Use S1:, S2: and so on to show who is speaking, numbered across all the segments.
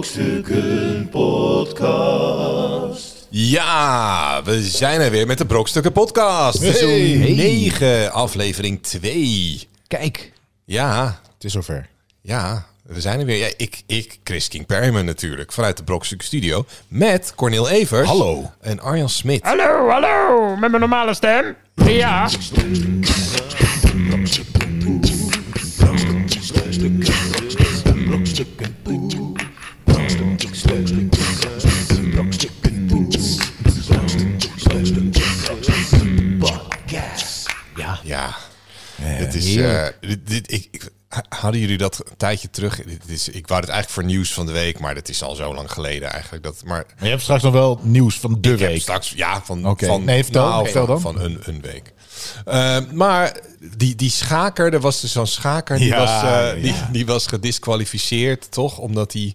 S1: Brokstukken Podcast.
S2: Ja, we zijn er weer met de Brokstukken Podcast. Seizoen 9, aflevering 2.
S3: Kijk,
S2: Ja,
S3: het is zover.
S2: ja, we zijn er weer. Ja, ik, ik, Chris King Perryman natuurlijk, vanuit de Brokstukken Studio. Met Cornel Evers.
S3: Hallo.
S2: En Arjan Smit.
S4: Hallo, hallo, met mijn normale stem. Ja,
S2: Ja, het is...
S3: heerlijk.
S2: eh, dit, dit- ik, ik- hadden jullie dat een tijdje terug? Dit is, ik wou het eigenlijk voor nieuws van de week, maar dat is al zo lang geleden eigenlijk. Dat, maar
S3: Maar je hebt straks nog wel nieuws van de
S2: Ik heb
S3: week.
S2: straks, ja, van,
S3: Oké.
S2: van, nou,
S3: Nee, vertel. Vertel dan.
S2: van een, een week. Eh, maar die, die schaker, er was dus zo'n schaker, die,
S3: Ja,
S2: was, eh,
S3: ja.
S2: Die, die was gedisqualificeerd, toch? Omdat hij...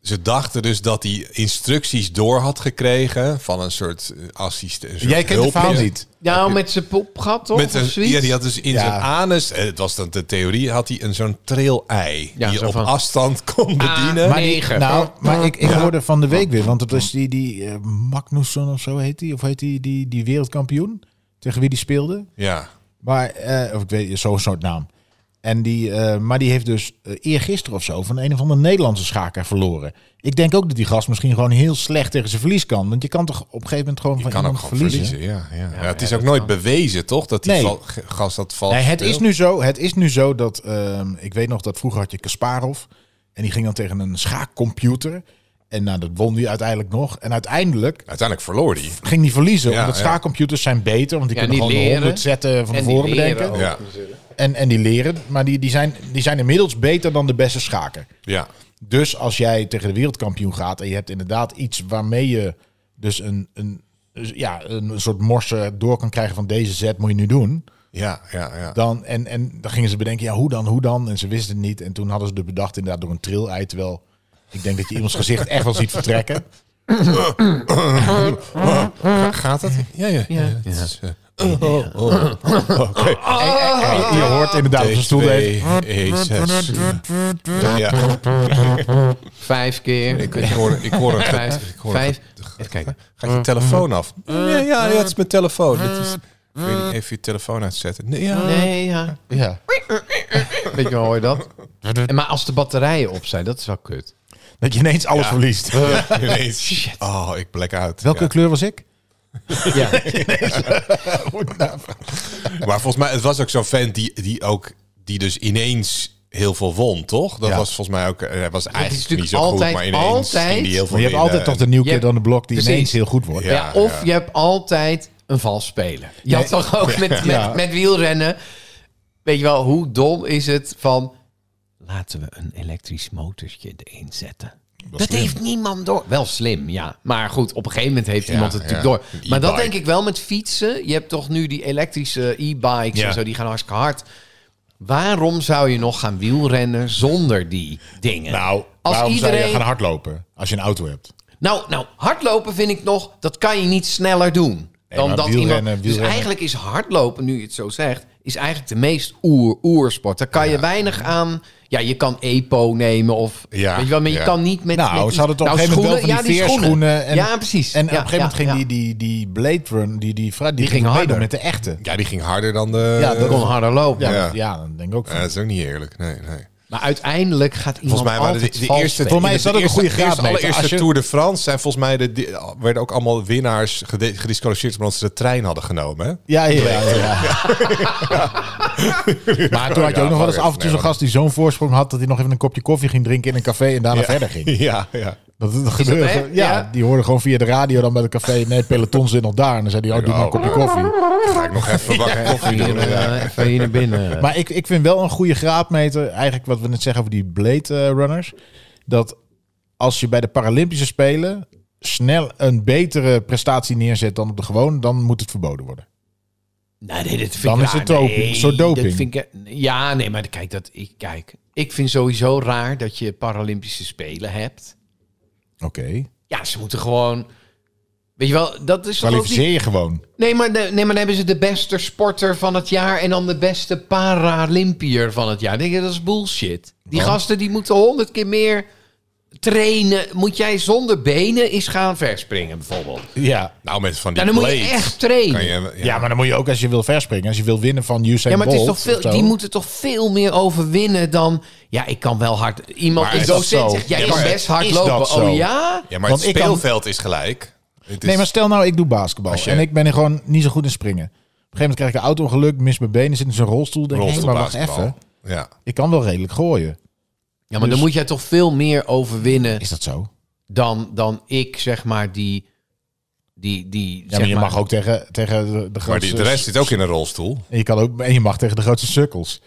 S2: Ze dachten dus dat hij instructies door had gekregen van een soort eh, assistent. een soort
S3: Jij kent het verhaal
S2: hulpmiddel.
S3: niet.
S5: Nou, met zijn popgat toch?
S2: Met
S5: of
S2: een,
S5: Oh, zoiets?
S2: ja, die had dus in
S3: Ja.
S2: zijn anus, eh, het was dan de theorie, had hij een zo'n trail-ei.
S5: Ja,
S2: die
S5: zo
S2: op
S5: van-
S2: afstand kon
S5: Ah.
S2: bedienen.
S3: Maar, die-
S5: Negen.
S3: nou, maar ik, ik hoorde van de week weer, want het was die, die eh, Magnussen of zo heet die, of heet die, die, die wereldkampioen, tegen wie die speelde.
S2: ja.
S3: Maar, eh, of ik weet zo'n soort naam. En die, eh, maar die heeft dus eh, eergisteren of zo van een of andere Nederlandse schaker verloren. Ik denk ook dat die gast misschien gewoon heel slecht tegen zijn verlies kan. Want je kan toch op een gegeven moment gewoon
S2: Je
S3: van
S2: kan ook
S3: iemand
S2: gewoon
S3: verliezen.
S2: verliezen. ja, ja. Ja, het is ook nooit bewezen, toch? Dat die
S3: Nee.
S2: val- ge- gast dat valt.
S3: Nee, het, is nu zo, het is nu zo dat, ehm, ik weet nog dat vroeger had je Kasparov. En die ging dan tegen een schaakcomputer. En nou, dat won die uiteindelijk nog. En uiteindelijk
S2: Uiteindelijk verloor die.
S3: ging die verliezen.
S2: Ja,
S3: omdat
S2: ja.
S3: schaakcomputers zijn beter. Want die
S5: Ja,
S3: kunnen
S5: die
S3: gewoon
S5: leren.
S3: 100 zetten van
S5: En die
S3: tevoren
S5: leren
S3: bedenken.
S5: ook.
S2: Ja,
S3: En, en die leren. Maar die, die, zijn, die zijn inmiddels beter dan de beste schaker.
S2: ja.
S3: Dus als jij tegen de wereldkampioen gaat en je hebt inderdaad iets waarmee je dus een, een, ja, een soort morsen door kan krijgen van deze zet moet je nu doen.
S2: ja, ja, ja.
S3: Dan, en, en dan gingen ze bedenken, ja, hoe dan, hoe dan? En ze wisten het niet. En toen hadden ze de bedacht inderdaad door een tril uit. Terwijl ik denk dat je iemands gezicht echt wel ziet vertrekken.
S2: Ga- gaat dat? Ja, ja. ja. Het is, eh, oh, oh.
S3: En
S5: Ah.
S3: je hoort inderdaad op zijn stoel
S2: T2,
S3: deed.
S2: E6. Ja,
S5: Vijf keer.
S2: ik, ik hoor, ik hoor een
S5: Vijf.
S2: Ik hoor
S5: Vijf.
S2: Een, Even kijken. Gaat je telefoon af? Ja, ja, ja, het is mijn telefoon. Het is, wil je niet even je telefoon uitzetten? Nee, ja.
S5: Nee, ja.
S3: Ja.
S5: Weet je wel, hoor je dat? En maar als de batterijen op zijn, dat is wel kut.
S3: Dat je ineens alles verliest.
S2: Ineens. Oh, ik black out.
S3: Eh, Welke
S2: Ja.
S3: kleur was ik?
S5: Ja.
S3: eh,
S2: Maar volgens mij, het was ook zo'n vent die, die ook, die dus ineens heel veel won, toch? Dat
S3: Ja.
S2: was volgens mij ook, eh, hij was eigenlijk
S5: natuurlijk
S2: niet zo goed,
S5: altijd-
S2: maar ineens
S5: altijd-
S2: ging die heel veel
S3: Maar je hebt
S2: winnen.
S3: altijd toch de nieuwe
S5: Je
S3: kid
S5: hebt-
S3: on the block die
S5: Precies.
S3: ineens heel goed wordt.
S2: Ja.
S5: Ja, of je hebt altijd een vals speler. Je had toch ook met, met,
S3: Ja.
S5: met wielrennen. Weet je wel, hoe dom is het van... Laten we een elektrisch motortje erin zetten. Dat heeft niemand door. Wel slim, ja. Maar goed, op een gegeven moment heeft iemand het natuurlijk
S2: ja.
S5: door. Maar dat
S2: E-bike.
S5: denk ik wel met fietsen. Je hebt toch nu die elektrische e-bikes
S3: Ja.
S5: en zo, die gaan hartstikke hard. Waarom zou je nog gaan wielrennen zonder die dingen?
S3: Nou,
S5: Als
S3: waarom zou
S5: iedereen-
S3: je gaan hardlopen als je een auto hebt?
S5: Nou, nou, hardlopen vind ik nog, dat kan je niet sneller doen. Dan
S3: maar
S5: dat
S3: wielrennen,
S5: iemand, dus
S3: wielrennen.
S5: eigenlijk is hardlopen, nu je het zo zegt, is eigenlijk de meest oer, oersport. Daar kan je weinig aan. Ja, je kan EPO nemen of.
S2: Ja,
S5: weet je wel, maar
S2: ja.
S5: je kan niet met.
S3: Nou,
S5: met
S3: ze hadden het op een gegeven moment wel van die veerschoenen. En,
S5: ja, precies.
S3: En op
S5: Ja,
S3: een gegeven moment
S5: ja,
S3: ging
S5: ja.
S3: die, die, die Blade Run, die, die, die, die
S5: ging
S3: ging harder
S5: harder.
S3: met de echte.
S2: Ja, die ging harder dan de...
S3: Ja, dat-
S5: kon harder lopen.
S3: Ja,
S2: Ja.
S3: ja. dan denk ik ook. van-
S2: Ja, dat is ook niet eerlijk, nee, nee.
S5: Maar uiteindelijk gaat iemand.
S2: Volgens mij waren de,
S5: altijd
S2: de
S5: vals
S2: eerste...
S5: spelen.
S3: Voor mij is
S2: de
S3: dat ook een
S2: eerste-
S3: goede
S2: eerste-
S3: graadmeter.
S2: allereerste
S3: Als je-
S2: Tour de France zijn volgens mij... De, die- werden ook allemaal winnaars gede- gedisqualificeerd... omdat ze de trein hadden genomen, hè?
S3: Ja, ja, ja. ja. Maar toen had je
S2: Ja,
S3: ook nog wel eens
S2: maar
S3: af en toe
S2: nee,
S3: zo'n
S2: maar-
S3: gast die zo'n voorsprong had... dat hij nog even een kopje koffie ging drinken in een café en daarna verder ging.
S2: Ja, ja.
S3: Dat, dat gebeurde.
S5: echt?
S3: gewoon- ja,
S5: Ja.
S3: die hoorde gewoon via de radio dan bij het café... nee, peloton zit nog daar. En dan zei hij, oh, doe maar een kopje koffie.
S2: Ga ik nog even wakker koffie doen.
S5: Even hier, eh, Even hier naar binnen.
S3: Maar ik, ik vind wel een goede graadmeter, eigenlijk wat we net zeggen over die blade eh, runners, dat als je bij de Paralympische Spelen snel een betere prestatie neerzet dan op de gewoon, dan moet het verboden worden.
S5: Nee, nee, dat vind
S3: Dan
S5: ik
S3: is
S5: raar.
S3: het doping.
S5: Nee,
S3: Zo doping.
S5: dat vind ik, ja, nee, maar kijk, dat, ik, kijk, ik vind sowieso raar dat je Paralympische Spelen hebt.
S3: Oké.
S5: Ja, ze moeten gewoon... Weet je wel, dat is toch ook niet...
S3: Kwalificeer je gewoon.
S5: Nee maar, de- nee, maar dan hebben ze de beste sporter van het jaar... en dan de beste Paralympier van het jaar. Dan Denk je, dat is bullshit. Die
S3: Want?
S5: gasten die moeten honderd keer meer trainen. Moet jij zonder benen eens gaan verspringen, bijvoorbeeld?
S3: Ja.
S2: Nou, met van die
S5: Ja, dan moet je
S2: blades
S5: echt trainen.
S2: kan je- ja.
S3: Ja. maar dan moet je ook als je wil verspringen. Als je wil winnen van Usain Bolt.
S5: Ja, maar het is toch
S3: of
S5: veel,
S3: zo.
S5: die moeten toch veel meer overwinnen dan... Ja, ik kan wel hard... Iemand,
S2: Maar
S5: een
S2: is dat
S5: docent
S3: zo?
S5: zegt, jij
S2: Ja,
S5: kan
S2: maar
S5: best hard
S3: is
S5: lopen.
S3: dat zo?
S5: Oh ja?
S2: Ja, maar
S3: Want
S2: het
S3: ik kan-
S2: speelveld is gelijk. Het is,
S3: Nee, maar stel nou, ik doe basketbal.
S2: Als je-
S3: En ik ben er gewoon niet zo goed in springen. Op een gegeven moment krijg ik een auto-ongeluk, mis mijn benen, zit in zo'n rolstoel. Denk ik, hé, maar wacht
S2: rolstoelbasketbal.
S3: even.
S2: Ja.
S3: Ik kan wel redelijk gooien.
S5: Ja,
S2: dus-
S5: maar dan moet jij toch veel meer overwinnen
S3: Is dat zo? Ja,
S5: dan, dan ik, zeg maar, die... die, die zeg
S3: maar je mag ook tegen, tegen de, de
S2: Maar
S3: grootste...
S2: die, de rest zit ook in een rolstoel.
S3: En je, kan ook, en je mag tegen de grootste sukkels.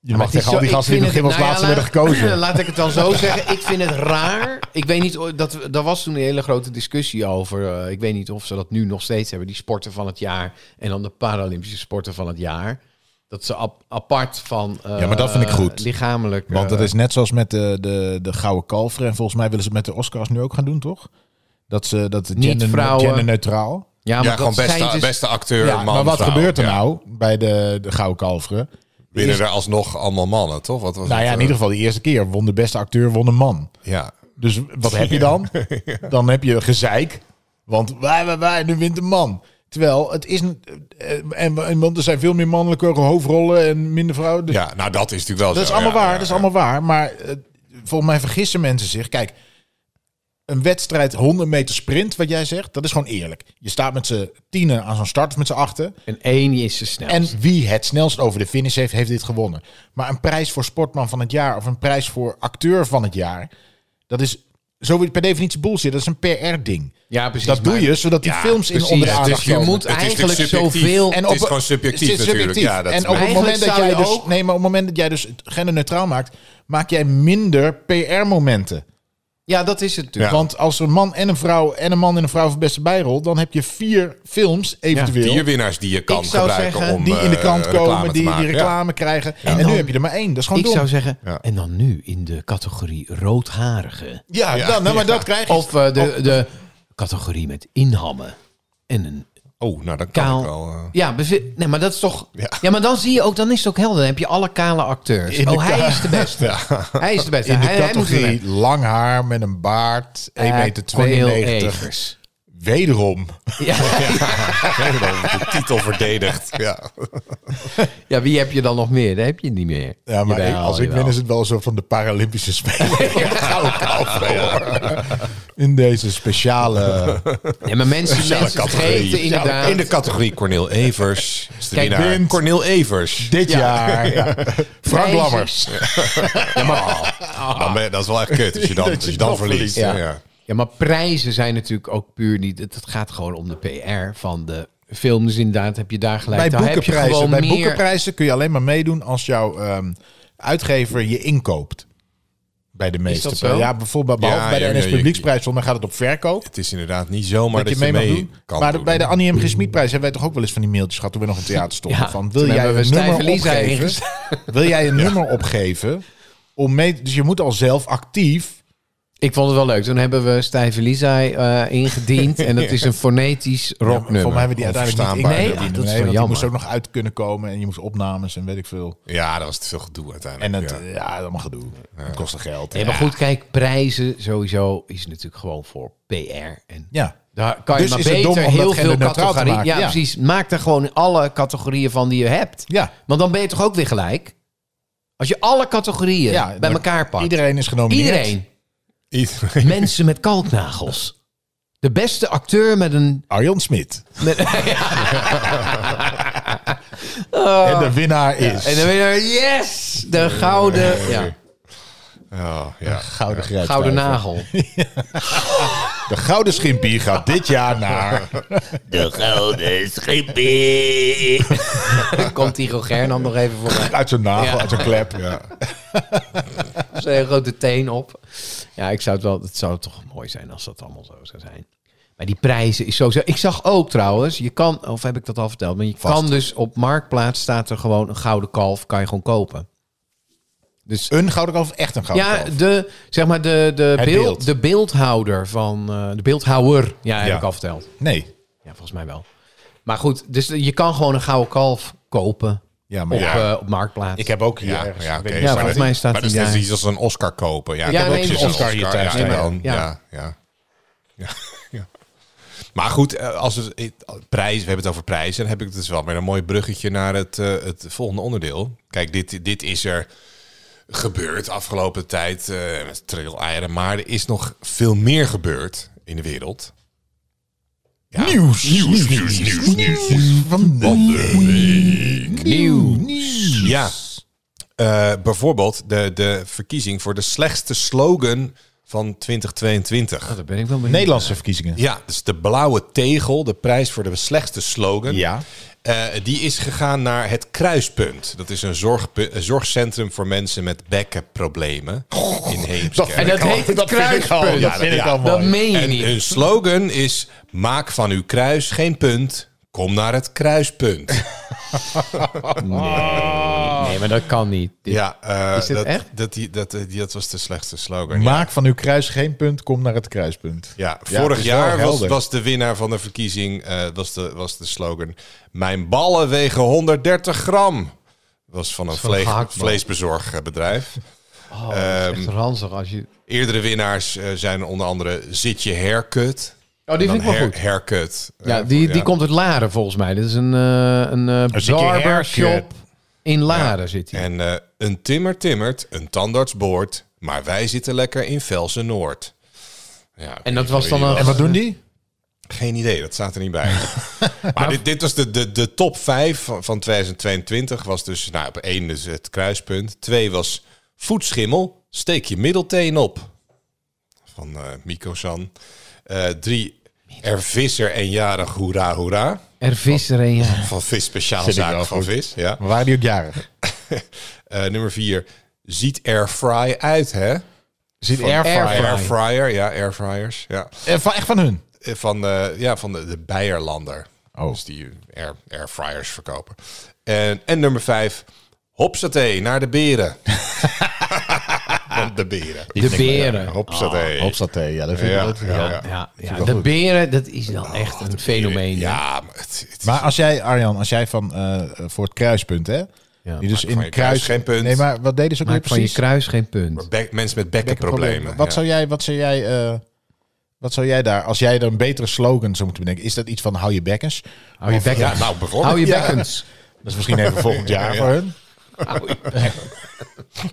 S3: Je mag
S5: Maar het
S3: tegen
S5: is
S3: al
S5: zo-
S3: die
S5: ik
S3: gasten die nog
S5: vind
S3: geen als
S5: het- nou
S3: laatste
S5: ja,
S3: werden gekozen.
S5: laat- Laat ik het dan zo zeggen. Ik vind het raar. Ik weet niet, o- dat, dat was toen een hele grote discussie over. eh, ik weet niet of ze dat nu nog steeds hebben. Die sporten van het jaar en dan de Paralympische sporten van het jaar. Dat ze ap- apart van eh,
S3: Ja, maar dat vind ik goed.
S5: lichamelijk.
S3: Want dat
S5: eh,
S3: is net zoals met de, de, de Gouden Kalveren. En volgens mij willen ze het met de Oscars nu ook gaan doen, toch? Dat ze dat
S5: Niet
S3: gender,
S5: vrouwen.
S3: genderneutraal.
S5: ja,
S2: Ja,
S5: maar dat
S2: gewoon beste,
S5: zijn dus-
S2: beste acteur,
S3: Ja,
S2: man,
S3: maar wat
S2: vrouw.
S3: gebeurt er
S2: Ja.
S3: nou bij de, de Gouden Kalveren?
S2: Winnen
S3: Is-
S2: er alsnog allemaal mannen, toch? Wat was
S3: Nou
S2: het,
S3: ja, in
S2: eh,
S3: ieder geval de eerste keer won de beste acteur, won een man.
S2: Ja.
S3: Dus wat heb je dan? Dan heb je gezeik. Want wij, wij, wij, nu wint een man. Terwijl het is een. eh, En, en, want er zijn veel meer mannelijke hoofdrollen en minder vrouwen. Dus
S2: ja, nou dat is natuurlijk wel zo.
S3: dat is allemaal
S2: ja,
S3: waar.
S2: ja,
S3: Dat is
S2: ja.
S3: allemaal waar. Maar eh, volgens mij vergissen mensen zich. Kijk, een wedstrijd 100 meter sprint, wat jij zegt, dat is gewoon eerlijk. Je staat met z'n tienen aan zo'n start of met z'n achten.
S5: En één E is ze snel.
S3: En wie het snelst over de finish heeft, heeft dit gewonnen. Maar een prijs voor sportman van het jaar of een prijs voor acteur van het jaar, dat is zo per definitie bullshit. Dat is een PR-ding.
S5: ja, precies.
S3: dat doe
S5: maar-
S3: je zodat die films in
S5: precies.
S3: onder de
S5: Ja,
S2: het
S3: aandacht
S2: is, je
S3: komen.
S2: moet
S5: Het is
S2: eigenlijk
S5: natuurlijk subjectief.
S2: zoveel...
S5: En
S2: het is gewoon subjectief,
S3: het is
S2: natuurlijk.
S3: subjectief.
S2: Ja, dat
S3: en op het
S5: Eigenlijk
S3: moment dat
S5: zou
S3: jij
S5: je
S3: dus,
S5: ook-
S3: nee, maar op het moment dat jij dus het genderneutraal maakt, maak jij minder PR-momenten.
S5: Ja, dat is het natuurlijk.
S3: Want als er een man en een vrouw en een man en een vrouw voor beste bijrol, dan heb je vier films eventueel.
S2: vier winnaars die je kan
S5: Ik zou
S2: gebruiken
S5: zeggen,
S2: om
S3: die in de
S2: eh,
S3: krant
S2: reclame
S3: komen,
S2: te
S3: die, die
S2: maken. Ja.
S3: reclame krijgen. En,
S5: dan-
S3: nu heb je er maar één. Dat is gewoon
S5: Ik
S3: dom.
S5: zou zeggen,
S2: Ja.
S5: en dan nu in de categorie roodharige.
S3: Ja,
S2: Ja.
S3: dan, nou, maar
S2: Ja.
S3: dat krijg je.
S5: Of eh,
S3: Oh.
S5: de, de categorie met inhammen. En een
S2: Oh, nou dat kan
S5: kaal.
S2: ik wel. eh.
S5: Ja, bezi- nee, maar dat is toch. Ja.
S2: Ja.
S5: maar dan zie je ook, dan is het ook helder. Dan heb je alle kale acteurs.
S3: In de
S5: oh, hij
S3: ka-
S5: is de beste. Hij is de beste.
S3: in de
S5: hij, hij moet
S3: categorie
S5: winnen.
S3: lang haar met een baard, 1,92
S5: Eh,
S3: meter.
S5: Cornel Evers.
S3: Wederom.
S5: Ja.
S2: Nee, dan wordt de titel verdedigd. Ja.
S5: ja, wie heb je dan nog meer? Dat heb je niet meer.
S3: Ja, maar
S5: Jawel,
S3: ik- als ik
S5: jawel.
S3: win is het wel zo van de Paralympische Spelen. Gouden kalveren, hoor. In deze speciale...
S5: Nee, maar mensen,
S2: Speciale
S5: mensen vergeten
S2: categorie.
S5: inderdaad.
S2: In de categorie Cornel Evers. Is de
S5: Kijk,
S2: winnaar.
S3: wint.
S2: Cornel Evers.
S3: Dit
S5: Ja.
S3: jaar. ja. Frank
S5: Prijzen.
S3: Lammers.
S2: Oh, dan ben je- dat is wel echt kut als je dan,
S3: Dat je
S2: als je
S3: dan
S2: dan verliest.
S3: verliest,
S2: Ja.
S3: ja.
S2: Ja.
S5: Ja, maar prijzen zijn natuurlijk ook puur niet. Het het gaat gewoon om de PR van de films. Inderdaad, heb je daar gelijk.
S3: Bij
S5: Daar heb je
S3: boekenprijzen,
S5: gewoon
S3: bij
S5: meer-
S3: boekenprijzen kun je alleen maar meedoen als jouw ehm, uitgever je inkoopt. Bij de meeste.
S5: dat zo?
S3: Ja, bijvoorbeeld behalve
S2: Ja,
S3: bij de
S2: ja,
S3: NS
S2: ja, je-
S3: Publieksprijs, want dan gaat het op verkoop.
S2: Het is inderdaad niet zomaar
S3: dat je mee
S2: je
S3: mag
S2: mee
S3: doen.
S2: kan
S3: maar de-
S2: doen.
S3: bij de Annie M. G. Smitprijs hebben wij toch ook wel eens van die mailtjes gehad toen we nog in het theater stonden.
S5: Ja,
S3: van, wil
S5: toen
S3: jij
S5: hebben we
S3: een nummer
S5: stijve Lisa
S3: opgeven?
S5: ingezet.
S3: Wil jij een nummer opgeven? Om mee, dus je moet al zelf actief.
S5: Ik vond het wel leuk. Toen hebben we Stijve Lizai eh, ingediend. En dat is een fonetisch
S3: Voor mij
S5: rocknummer.
S3: hebben die uiteindelijk niet
S2: Onverstaanbaar.
S5: Nee,
S3: ingediend.
S5: ah, dat is wel
S3: want je
S5: jammer.
S3: moest ook nog uit kunnen komen en je moest opnames en weet ik veel.
S2: Ja, dat was te veel gedoe uiteindelijk.
S3: En het,
S2: ja.
S3: ja, allemaal gedoe. Het kostte geld.
S5: Nee, maar goed, kijk, prijzen sowieso is natuurlijk gewoon voor PR. En
S3: Ja.
S5: daar kan je
S3: Dus
S5: maar
S3: is het
S5: beter
S3: dom om
S5: heel
S3: dat
S5: veel
S3: genderneutraal te
S5: categorieën...
S3: maken,
S5: Ja,
S3: ja.
S5: precies. Maak er gewoon alle categorieën van die je hebt.
S3: Ja.
S5: Want dan ben je toch ook weer gelijk? Als je alle categorieën
S3: Ja,
S5: bij
S3: dan-
S5: elkaar pakt. Iedereen.
S3: Iedereen is genomineerd. eh,
S2: Iedereen-
S5: Mensen met kalknagels. De beste acteur met een...
S3: Arjan Smit.
S5: met-
S3: En de winnaar is...
S5: en dan weer yes! De gouden... Ja,
S2: Ja, ja.
S3: Gouden Grijpstuiver.
S5: gouden nagel.
S3: De Gouden Schimpie gaat dit jaar naar...
S1: De gouden schippie.
S5: Dan komt Tigo Gernand nog even voor mij.
S3: Uit zijn nagel,
S5: Ja.
S3: uit zijn klep.
S5: Ze heeft een grote teen op. Ja, ik zou het wel. Het zou toch mooi zijn als dat allemaal zo zou zijn. Maar die prijzen is sowieso. Ik zag ook trouwens, je kan, of heb ik dat al verteld, maar je
S3: Vast.
S5: kan dus op marktplaats staat er gewoon een gouden kalf, kan je gewoon kopen. Dus
S3: Een gouden kalf of echt een gouden
S5: ja,
S3: kalf?
S5: de zeg maar de, de,
S3: Het
S5: beeld,
S3: beeld.
S5: de beeldhouder van eh, de beeldhouwer. Ja, heb
S3: Ja.
S5: ik al verteld.
S3: Nee.
S5: Ja, volgens mij wel. Maar goed, dus je kan gewoon een gouden kalf kopen
S3: Ja, maar
S5: op,
S3: ja.
S5: eh, op Marktplaats.
S3: Ik heb ook hier
S2: Ja,
S3: ergens...
S2: ja, oké.
S3: weet ik
S5: ja,
S3: niet.
S2: maar
S5: volgens
S2: dat-
S5: mij staat
S2: Maar dat is
S5: hij
S2: net
S5: daar.
S2: iets als een Oscar kopen. Ja, ik
S5: Ja,
S2: heb ook
S5: nee,
S2: zoiets
S5: een
S2: als
S5: Oscar
S3: hier thuis
S2: ja,
S3: staan,
S2: dan,
S5: ja.
S2: ja. Ja, ja. ja. Maar goed, eh, als het, eh, prijs, we hebben het over prijzen. Dan heb ik het dus wel weer een mooi bruggetje naar het, eh, het volgende onderdeel. Kijk, dit, dit is er gebeurd afgelopen tijd. eh met eieren. Maar er is nog veel meer gebeurd in de wereld. Ja.
S3: Nieuws.
S2: Nieuws, nieuws, nieuws, nieuws.
S3: Van de...
S5: Nieuw.
S2: Ja. Eh, bijvoorbeeld de, de verkiezing voor de slechtste slogan van 2022.
S5: Dat ben ik wel benieuwd.
S3: Nederlandse verkiezingen.
S2: Ja, dus de blauwe tegel, de prijs voor de slechtste slogan.
S3: Ja.
S2: Eh, die is gegaan naar het Kruispunt. Dat is een, zorgpu- een zorgcentrum voor mensen met bekkenproblemen in Heemskerk.
S5: En Oh, dat heet het
S3: Dat vind ik al-
S5: kruispunt.
S3: dat vind ik al
S5: Dat
S3: mooi.
S5: meen je
S2: En
S5: niet.
S2: hun slogan is: maak van uw kruis geen punt. Kom naar het kruispunt.
S5: Nee, maar dat kan niet. Dit-
S2: Ja, eh,
S5: Is dit
S2: dat,
S5: echt?
S2: Dat, die- dat, eh, die- dat was de slechtste slogan. ja.
S3: Maak van uw kruis geen punt, kom naar het kruispunt.
S2: Ja,
S3: Ja,
S2: vorig
S3: het is wel
S2: jaar was,
S3: helder.
S2: was de winnaar van de verkiezing, eh, was, de, was de slogan... Mijn ballen wegen 130 gram. Was van een
S5: van een
S2: vleeg-
S5: gehaktbal.
S2: vleesbezorgbedrijf.
S5: Oh, dat is echt ranzig als je...
S2: Eerdere winnaars eh, zijn onder andere Zit je haircut.
S5: Oh, die
S2: En
S5: vind ik
S2: dan
S5: wel goed.
S2: hair- Haircut.
S5: Ja,
S2: Eh,
S5: die,
S2: ja.
S5: die komt uit Laren volgens mij. Dit is een, eh een eh
S3: zit je
S5: barbershop
S3: haircut.
S5: in Laren zit hij.
S2: En eh, een timmer timmert, een tandarts boort... maar wij zitten lekker in Velsen Noord. Ja,
S5: En dat was dan een...
S3: En wat doen die?
S2: Geen idee, dat staat er niet bij. maar dit, dit was de, de, de top 5 van, van 2022. Was dus, nou, op één dus het kruispunt. Twee was voetschimmel, steek je middelteen op. Van eh, Miko-san. Eh, drie, er visser en jarig, hoera, hoera.
S5: Er visser en ja.
S2: Van vis speciaal
S3: Vind ik
S2: zaak
S3: wel
S2: van
S3: goed.
S2: vis. Ja.
S3: We waren die ook jarig.
S2: Eh, nummer vier, ziet airfry uit, hè?
S3: Zit
S2: Van-
S3: airfryer.
S5: Airfryer.
S2: Airfryer, ja, airfryers. Ja.
S3: Eh, van, echt van hun.
S2: Eh, Van, eh, ja, van de, de Beierlander.
S3: Oh.
S2: Dus die air, airfryers verkopen. En, en nummer vijf. Hopsatee, naar de beren. Van de beren.
S5: De beren.
S3: Oh,
S2: Hopsatee.
S3: Hopsaté, ja, dat vind ik
S2: Ja,
S3: wel leuk.
S2: Oh, ja,
S5: Ja,
S2: ja.
S5: ja,
S3: wel
S5: de
S3: goed.
S5: beren, dat is wel echt een fenomeen. hè?
S2: Ja, maar het, het is-
S3: Maar als jij, Arjan, als jij van eh, voor het kruispunt, hè?
S5: Ja,
S3: die dus
S2: van
S3: in
S2: je kruis
S3: kruis
S2: geen punt.
S3: Nee, maar wat deden ze ook weer
S5: Maak van je
S3: precies?
S5: kruis geen punt.
S2: bek- mensen met bekkenproblemen.
S3: Wat
S2: ja.
S3: zou jij, wat zou jij, eh, wat zou jij daar, als jij er een betere slogan zou moeten bedenken, is dat iets van hou je bekkens?
S5: Hou je
S3: Of-
S5: bekken.
S2: Ja, nou, bijvoorbeeld.
S5: Hou je
S2: Ja.
S5: bekkens.
S3: Dat is misschien even volgend jaar
S2: Ja.
S3: voor hun.
S5: Hou je-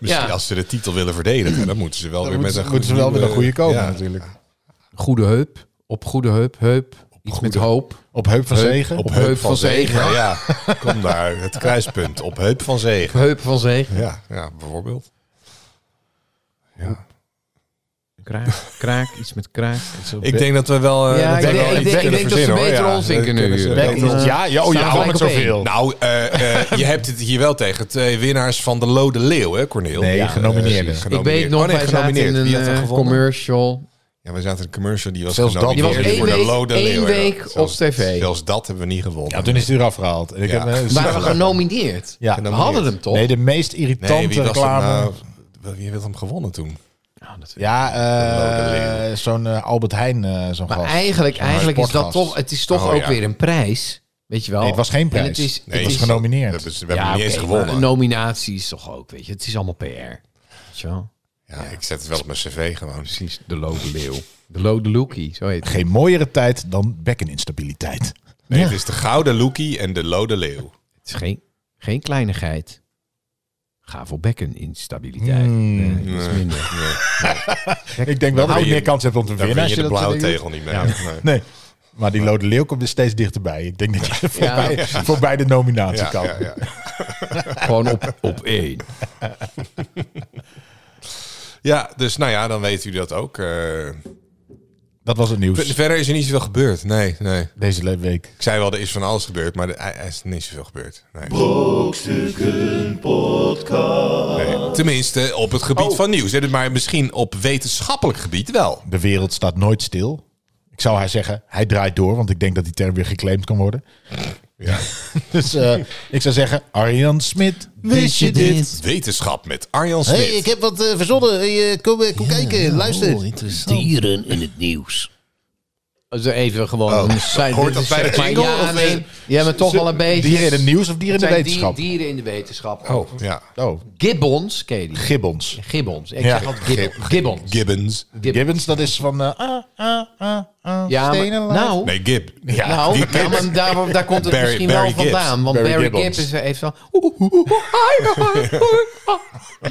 S2: Misschien
S5: Ja.
S2: als ze de titel willen verdedigen, dan moeten ze wel weer
S3: Dan moeten,
S2: met een
S3: ze- moeten ze wel met een goede komen
S2: ja.
S3: natuurlijk.
S5: Goede heup. Op goede heup. Heup. Iets met hoop.
S3: Op Heup van
S5: Heup.
S3: Zegen.
S5: Op
S2: Op
S5: Heup
S2: Heup
S5: van
S2: van Zegen. Ja, kom daar. Het kruispunt. Op Heup van Zegen.
S5: Heup van zegen.
S2: Ja, ja bijvoorbeeld. Ja.
S5: Kraak. Kraak. Iets met kraak. Iets op-
S2: Ik denk dat we wel. eh,
S5: Ja,
S2: dat
S5: ik
S2: we
S5: denk-
S2: wel
S5: ik
S2: iets
S5: denk- ik
S2: kunnen
S5: denk dat ze
S2: verzinnen, hoor.
S5: beter
S2: Ja,
S5: ons
S2: dat
S5: in kunnen
S2: kunnen ze
S5: huren.
S2: wel.
S5: Bekkens.
S3: Bekkens. Ja, ja, oh
S5: Staan
S3: ja,
S5: gelijk
S3: wat
S5: op
S3: zoveel.
S2: Nou, eh, eh, je hebt het hier wel tegen. Twee winnaars van de Lode Leeuw, hè, Corneel?
S3: Nee, genomineerden.
S2: precies,
S5: Ik weet
S2: genomineerd.
S5: nog,
S2: Oh, nee,
S5: wij zaten in
S2: genomineerd.
S5: een
S2: Wie had er
S5: eh,
S2: gewonnen?
S5: commercial.
S2: Ja, we zaten in een commercial die was
S3: Zelfs dat
S5: Die was
S2: genomineerd
S5: één
S2: voor de
S5: week-
S2: Lode
S5: één
S2: Leeuw. ja.
S5: week op
S2: Zelfs-
S5: tv.
S2: Zelfs dat hebben we niet gewonnen.
S3: Ja, toen is het eraf gehaald. Ik
S2: Ja.
S3: heb, eh,
S5: Waren we genomineerd?
S3: Ja.
S5: We hadden hem toch?
S3: nee, de meest irritante
S2: nee, wie was nou?
S3: reclame.
S2: reclame. wie heeft hem gewonnen toen?
S5: Nou, dat-
S3: Ja, eh,
S2: De rode
S3: zo'n eh, Albert Heijn, eh, zo'n
S5: Maar
S3: gast.
S5: eigenlijk, eigenlijk is dat
S3: sportgast.
S5: toch, het is toch
S2: Oh,
S5: ook
S2: ja.
S5: weer een prijs. Weet je wel?
S3: Nee, het was geen
S5: En
S3: prijs.
S5: het is,
S2: Nee,
S5: het
S3: was
S5: is-
S3: genomineerd.
S2: We hebben, we hebben
S5: Ja,
S2: niet eens
S5: oké, maar
S2: gewonnen.
S5: Een nominatie is toch ook, weet je. Het is allemaal PR. Weet je wel?
S2: ja, ik zet het wel op mijn cv gewoon.
S5: Precies, de lode leeuw. De lode lookie, zo heet het.
S3: Geen mooiere tijd dan bekkeninstabiliteit.
S2: Nee,
S5: Ja.
S2: het is de Gouden Loekie en de Lode Leeuw.
S5: Het is geen, geen kleinigheid. Ga voor bekken instabiliteit.
S3: Hmm.
S5: Nee, dat is
S2: Nee.
S5: minder.
S3: Ik denk wel dat
S2: win
S3: je
S2: je-
S3: meer kans hebt om te
S2: Daar
S3: winnen.
S2: win
S3: als
S2: je de
S3: dat
S2: blauwe
S3: soort dingen
S2: tegel niet mee. Nee.
S3: doet. Nee, maar die Lode Leeuw komt er steeds dichterbij. Ik denk dat je voorbij,
S5: precies.
S3: voorbij de nominatie
S2: Ja,
S3: kan.
S2: ja, ja.
S5: Gewoon op, op één.
S2: Ja, dus nou ja, dan weet u dat ook. eh.
S3: Dat was het nieuws
S2: verder is er niet zoveel gebeurd. Nee, nee.
S3: deze le- week.
S2: Ik zei wel, er is van alles gebeurd, maar er er is niet zoveel gebeurd. Nee. Nee, Tenminste, op het
S3: Oh.
S2: gebied van nieuws. hè. Maar misschien op wetenschappelijk gebied wel.
S3: De wereld staat nooit stil. Ik zou haar zeggen, hij draait door, want ik denk dat die term weer geclaimd kan worden.
S2: Ja.
S3: Dus eh, ik zou zeggen, Arjan Smit, wist je dit?
S2: Wetenschap met Arjan Smit.
S3: Hey, ik heb wat eh, verzonnen. Hey, eh, kom eh, kom kijken, luister.
S1: Dieren in het nieuws.
S5: Dus even gewoon.
S2: Oh,
S5: een site-
S2: hoort
S5: dit
S2: dat
S5: is
S2: bij de
S5: zeg maar
S2: jingle,
S5: Ja,
S2: of, eh,
S5: nee. Ja, maar toch wel een beetje.
S3: Dieren in het nieuws of dieren in de
S5: Het zijn
S3: wetenschap?
S5: die- dieren in de wetenschap.
S2: Oh, ja.
S3: Oh,
S5: Gibbons, ken je die?
S3: gibbons.
S5: Gibbons. Ik
S3: Ja.
S5: zeg altijd gibbon- gibbons.
S2: Gibbons.
S5: Gibbons.
S3: Gibbons, dat is van... eh, ah, ah, ah, ah,
S5: Ja, maar-
S3: stenen laten-
S5: nou,
S2: Nee, Gib.
S3: Ja.
S5: nou,
S2: die
S5: ja,
S2: Gibbons.
S5: maar daar, daar komt het
S2: Barry-
S5: misschien
S2: Barry
S5: wel vandaan.
S2: Gibbs.
S5: Want
S3: Barry
S5: Barry,
S3: Gibbons.
S5: Gibbs is even van... oeh, oeh, oeh, oeh, oeh, oeh, oeh,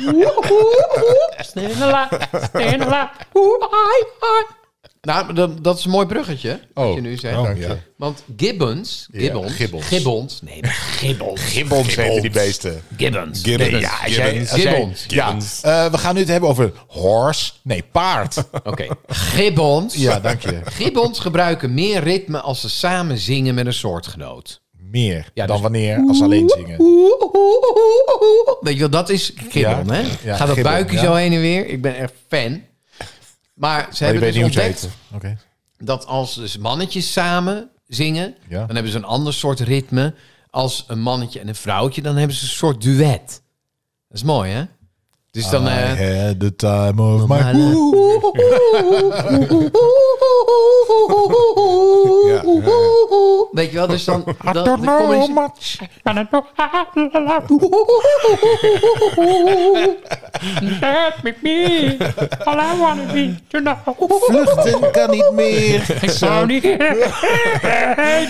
S5: oeh, oeh, oeh, oeh.
S4: Stenela, stenela.
S5: Oeh, ai, ai. Nou, dat, dat is een mooi bruggetje. Wat
S3: Oh.
S5: je nu zegt.
S2: Oh,
S3: Dank
S2: ja.
S3: je.
S5: Want Gibbons, Gibbons,
S3: Gibbons.
S5: Gibbons, nee, maar Gibbons,
S3: Gibbons heten die beesten.
S5: Gibbons,
S2: Gibbons.
S3: Nee, ja, als jij-
S2: Gibbons.
S3: als jij-
S5: Gibbons.
S3: Ja,
S2: Gibbons.
S3: eh, we gaan nu het hebben over horse. Nee, paard.
S5: Oké, Gibbons.
S3: ja, dank je.
S5: Gibbons gebruiken meer ritme als ze samen zingen met een soortgenoot.
S3: Meer
S5: Ja,
S3: dan
S5: dus-
S3: wanneer als ze alleen zingen.
S5: Oeh, oeh, oeh, oeh. Weet je wel, dat is Gibbon,
S3: Ja,
S5: hè?
S3: ja,
S5: Gaat dat
S3: Gibbon,
S5: buikje
S3: ja.
S5: zo heen en weer? Ik ben echt fan. Maar ze
S3: Maar je
S5: hebben
S3: weet
S5: dus
S3: niet hoe ze
S5: ontdekt
S3: heten. Oké.
S5: dat als dus mannetjes samen zingen,
S3: Ja.
S5: dan hebben ze een ander soort ritme. Als een mannetje en een vrouwtje, dan hebben ze een soort duet. Dat is mooi, hè? Dus dan... eh,
S3: I had the time of my...
S5: maar, eh,
S2: Ja, ja, ja.
S5: Weet je wel, dus dan... dan, dan komen
S3: nou
S5: ze-
S4: Kan het nog? Help me, me. All I wanna be to know.
S3: Vluchten kan niet meer.
S4: Ik zou niet...
S3: Ain't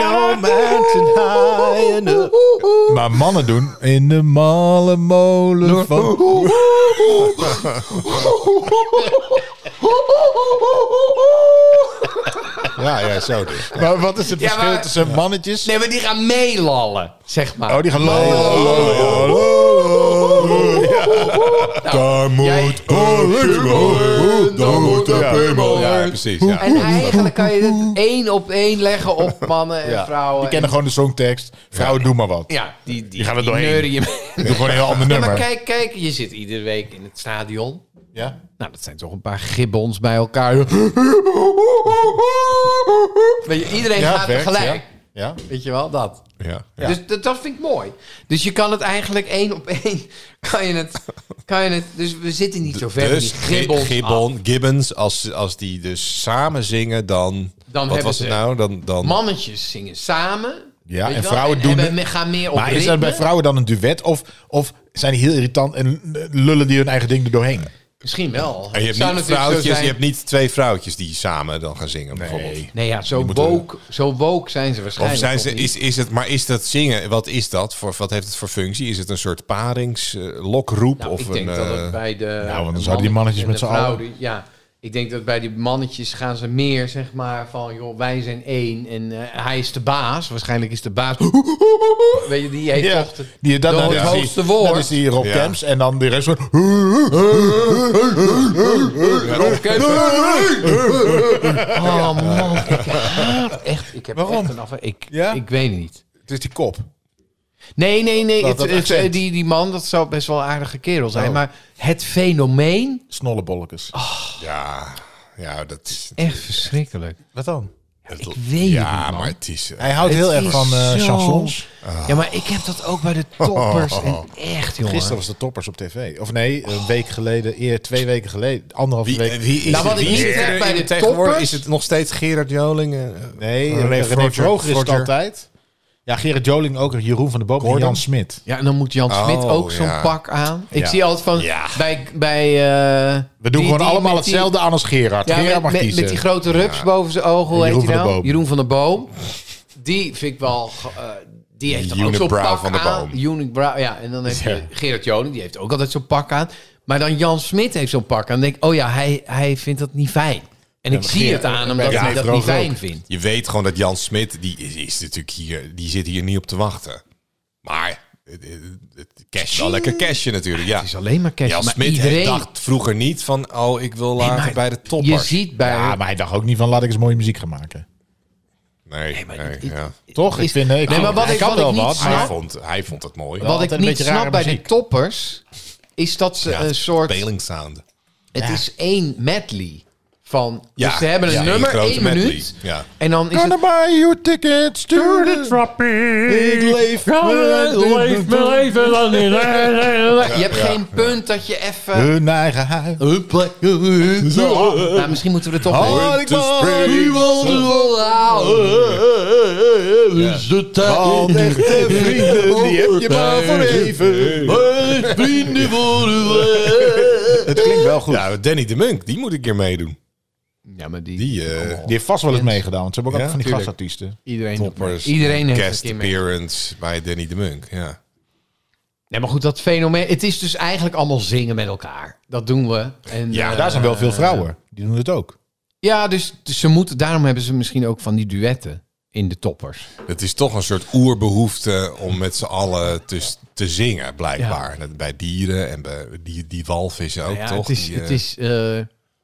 S3: no mountain high enough. Maar mannen doen in de malle molen van...
S2: Ja, ja, zo dus.
S3: Maar wat is het
S5: Ja,
S3: verschil
S5: maar-
S3: tussen mannetjes?
S5: Nee, maar die gaan meelallen, zeg maar.
S3: Oh, die gaan lol. Nou,
S2: Daar moet een daar moet een piemel. Ja, precies. Ja.
S5: En eigenlijk kan je het één op één leggen op mannen en vrouwen.
S3: Die kennen gewoon de songtekst. Vrouwen, doe maar wat.
S5: Ja, die, die,
S3: gaan er
S5: die
S3: doorheen.
S5: neuren je mee.
S3: Doe gewoon een heel ander
S5: Ja, maar
S3: nummer.
S5: kijk, kijk, je zit iedere week in het stadion.
S3: Ja?
S5: Nou, dat zijn toch een paar gibbons bij elkaar. Weet je, iedereen
S3: Ja,
S5: gaat
S3: het werkt,
S5: tegelijk.
S3: Ja?
S5: Weet je wel, dat.
S2: Ja.
S3: Ja.
S5: Dus dat, dat vind ik mooi. Dus je kan het eigenlijk één op één. Kan je het. Kan je het dus we zitten niet zo ver.
S2: Dus
S5: van die gibbons.
S2: Gi-
S5: af.
S2: Gibbon, Gibbons, als, als die dus samen zingen, dan... wat
S5: hebben
S2: was
S5: ze-
S2: het nou? Dan, dan,
S5: Mannetjes zingen samen.
S3: Ja,
S5: weet je
S3: en
S5: wel,
S3: vrouwen doen
S5: hebben-
S3: het-
S5: gaan meer op
S3: Maar is dat
S5: ritme.
S3: bij vrouwen dan een duet? Of, of zijn die heel irritant en lullen die hun eigen ding er doorheen?
S5: Misschien wel.
S2: en je hebt
S5: Zou
S2: niet
S5: natuurlijk zo
S2: vrouwtjes, je
S5: zijn-
S2: hebt niet twee vrouwtjes die samen dan gaan zingen, bijvoorbeeld.
S5: Nee, ja, zo
S2: moeten-
S5: woke, zo woke zijn ze
S2: Of
S5: waarschijnlijk.
S2: zijn
S5: nog
S2: ze,
S5: niet.
S2: is, is het, maar is dat zingen, wat is dat? Voor, wat heeft het voor functie? Is het een soort paringslokroep?
S5: Nou,
S2: of
S5: ik denk
S2: een,
S5: dat
S2: eh,
S5: het bij de.
S3: nou, want dan
S5: de
S3: zouden die mannetjes
S5: en
S3: met
S5: de
S3: z'n allen-
S5: vrouwen- Ja, ik denk dat bij die mannetjes gaan ze meer zeg maar van, joh, wij zijn één en eh, hij is de baas. Waarschijnlijk is de baas. Weet je, die heeft toch. De,
S3: die, dat,
S5: de-
S3: dat
S5: het
S3: is die-
S5: hoogste woord.
S3: Dat is die Rob
S2: Ja.
S3: Camps en dan de rest van...
S5: Oh man, ik haat echt. Ik heb echt een afwe- ik,
S3: Ja?
S5: ik weet het niet.
S3: Het is die kop.
S5: Nee, nee, nee.
S3: Dat-
S5: het-
S3: dat
S5: het-
S3: accent.
S5: die, die man, dat zou best wel een aardige kerel zijn.
S3: Oh.
S5: Maar het fenomeen,
S3: Snollebollekes.
S2: ja, ja, dat is...
S5: echt verschrikkelijk.
S3: Wat dan?
S2: het-
S5: weet het
S2: ja,
S5: niet, man.
S2: maar het is... eh,
S3: Hij houdt heel
S5: Het
S3: erg
S5: is
S3: van eh,
S5: zo-
S3: chansons.
S5: Ja, maar ik heb dat ook bij de toppers.
S2: Oh.
S5: En echt, jongen.
S3: Gisteren was de toppers op tv. Of nee, een week geleden, eer twee weken geleden, anderhalve
S2: Wie,
S3: week.
S2: eh, wie is
S5: Nou, wat
S2: het-
S5: ik
S2: wie
S5: niet
S2: is
S5: heb
S2: er
S5: bij
S2: in
S5: de
S2: tegenwoordig?
S5: toppers-
S2: Is het nog steeds Gerard Joling? eh,
S3: Nee,
S2: René
S3: René, René
S2: Vroger.
S3: Vroger is het
S2: Vroger.
S3: altijd. Ja, Gerard Joling ook, Jeroen van der Boom en
S2: Gordon?
S3: Jan Smit.
S5: Ja, en dan moet Jan
S2: Oh,
S5: Smit ook zo'n
S2: ja.
S5: pak aan. Ik
S3: Ja.
S5: zie altijd van
S2: Ja.
S5: bij. bij eh,
S3: We doen
S5: die-
S3: gewoon
S5: die
S3: allemaal
S5: met die-
S3: hetzelfde aan als Gerard.
S5: Ja,
S3: Gerard
S5: met,
S3: mag
S5: met-
S3: kiezen.
S5: met die grote rups boven zijn ogen. Hoe
S3: Jeroen
S5: heet die
S3: van der
S5: nou?
S3: Boom.
S5: Jeroen van der Boom. Die vind ik wel. eh, die heeft toch ook zo'n
S2: Unibrow
S5: pak
S2: van der
S5: aan.
S2: Boom.
S5: Unibrow, ja. En dan heb je Gerard Joning, die heeft ook altijd zo'n pak aan. Maar dan Jan Smit heeft zo'n pak aan. Dan denk ik, oh ja, hij, hij vindt dat niet fijn. En ik zie het aan hem dat
S3: eh, ja,
S5: hij dat
S3: Vroger
S5: niet fijn
S3: ook.
S5: vindt.
S2: Je weet gewoon dat Jan Smit, die is, is natuurlijk hier, die zit hier niet op te wachten. Maar het, het, het cash wel lekker cashje natuurlijk. Ja.
S5: Het is alleen maar cash.
S2: Jan
S5: maar
S2: Smit
S5: iedereen,
S2: dacht vroeger niet van, oh, ik wil
S5: Nee,
S2: later
S5: maar
S2: bij de
S5: je
S2: toppers.
S5: ziet bij
S3: Ja, maar hij dacht ook niet van laat ik eens mooie muziek gaan maken.
S2: Nee,
S5: maar
S2: nee,
S5: dit- dit-
S2: ja.
S3: Toch? Ik
S5: Is-
S3: vind, eh, ik
S5: Nee,
S3: vind-
S5: maar wat
S3: hij
S5: ik-
S3: kan
S5: wat
S3: wel
S5: ik niet
S3: wat,
S5: snap-
S2: Hij
S3: maar-
S2: vond, hij vond het mooi.
S5: Wat
S3: altijd
S5: ik
S3: een
S5: niet
S3: beetje rare
S5: snap bij de
S3: muziek.
S5: toppers, is dat ze
S2: Ja,
S5: een eh, soort...
S2: Peling sound.
S5: Het is één medley Van,
S2: Ja,
S5: dus ze hebben een
S2: ja,
S5: nummer,
S2: één grote
S5: één
S2: medley.
S5: minuut.
S2: Ja.
S5: En dan is
S3: Gonna
S5: het...
S3: buy you tickets to the
S4: Trappie.
S3: leef.
S4: Leef mijn leven lang niet.
S5: Je hebt
S2: ja,
S5: geen punt dat je even...
S3: Hun eigen huis.
S5: Nou, misschien moeten we er toch...
S3: Oh, ik was-
S5: Is de
S3: Want
S5: tijd.
S3: echte vrienden, die heb je maar voor even.
S5: Vrienden voor de
S3: Het klinkt wel goed.
S2: Ja, Danny de Munk, die moet ik een keer meedoen.
S5: Ja, maar die...
S2: Die eh
S5: Oh.
S3: Die heeft vast wel eens meegedaan, want ze hebben ook
S2: Ja,
S3: altijd van die
S2: tuurlijk.
S3: gastartiesten.
S5: iedereen
S2: toppers.
S5: Iedereen heeft
S2: Guest
S5: een keer mee.
S2: appearance bij Danny de Munk. Ja.
S5: Nee, maar goed, dat fenomeen... Het is dus eigenlijk allemaal zingen met elkaar. Dat doen we. En,
S2: Ja,
S5: eh,
S3: Daar zijn wel veel vrouwen. Die doen het ook.
S5: Ja, dus, dus ze moeten, daarom hebben ze misschien ook van die duetten in de toppers.
S2: Het is toch een soort oerbehoefte om met z'n allen te, te zingen, blijkbaar. Dat bij dieren en bij die, die walvissen ook,
S5: Ja,
S2: toch?
S5: het is,
S2: Die, eh,
S5: het, is, eh,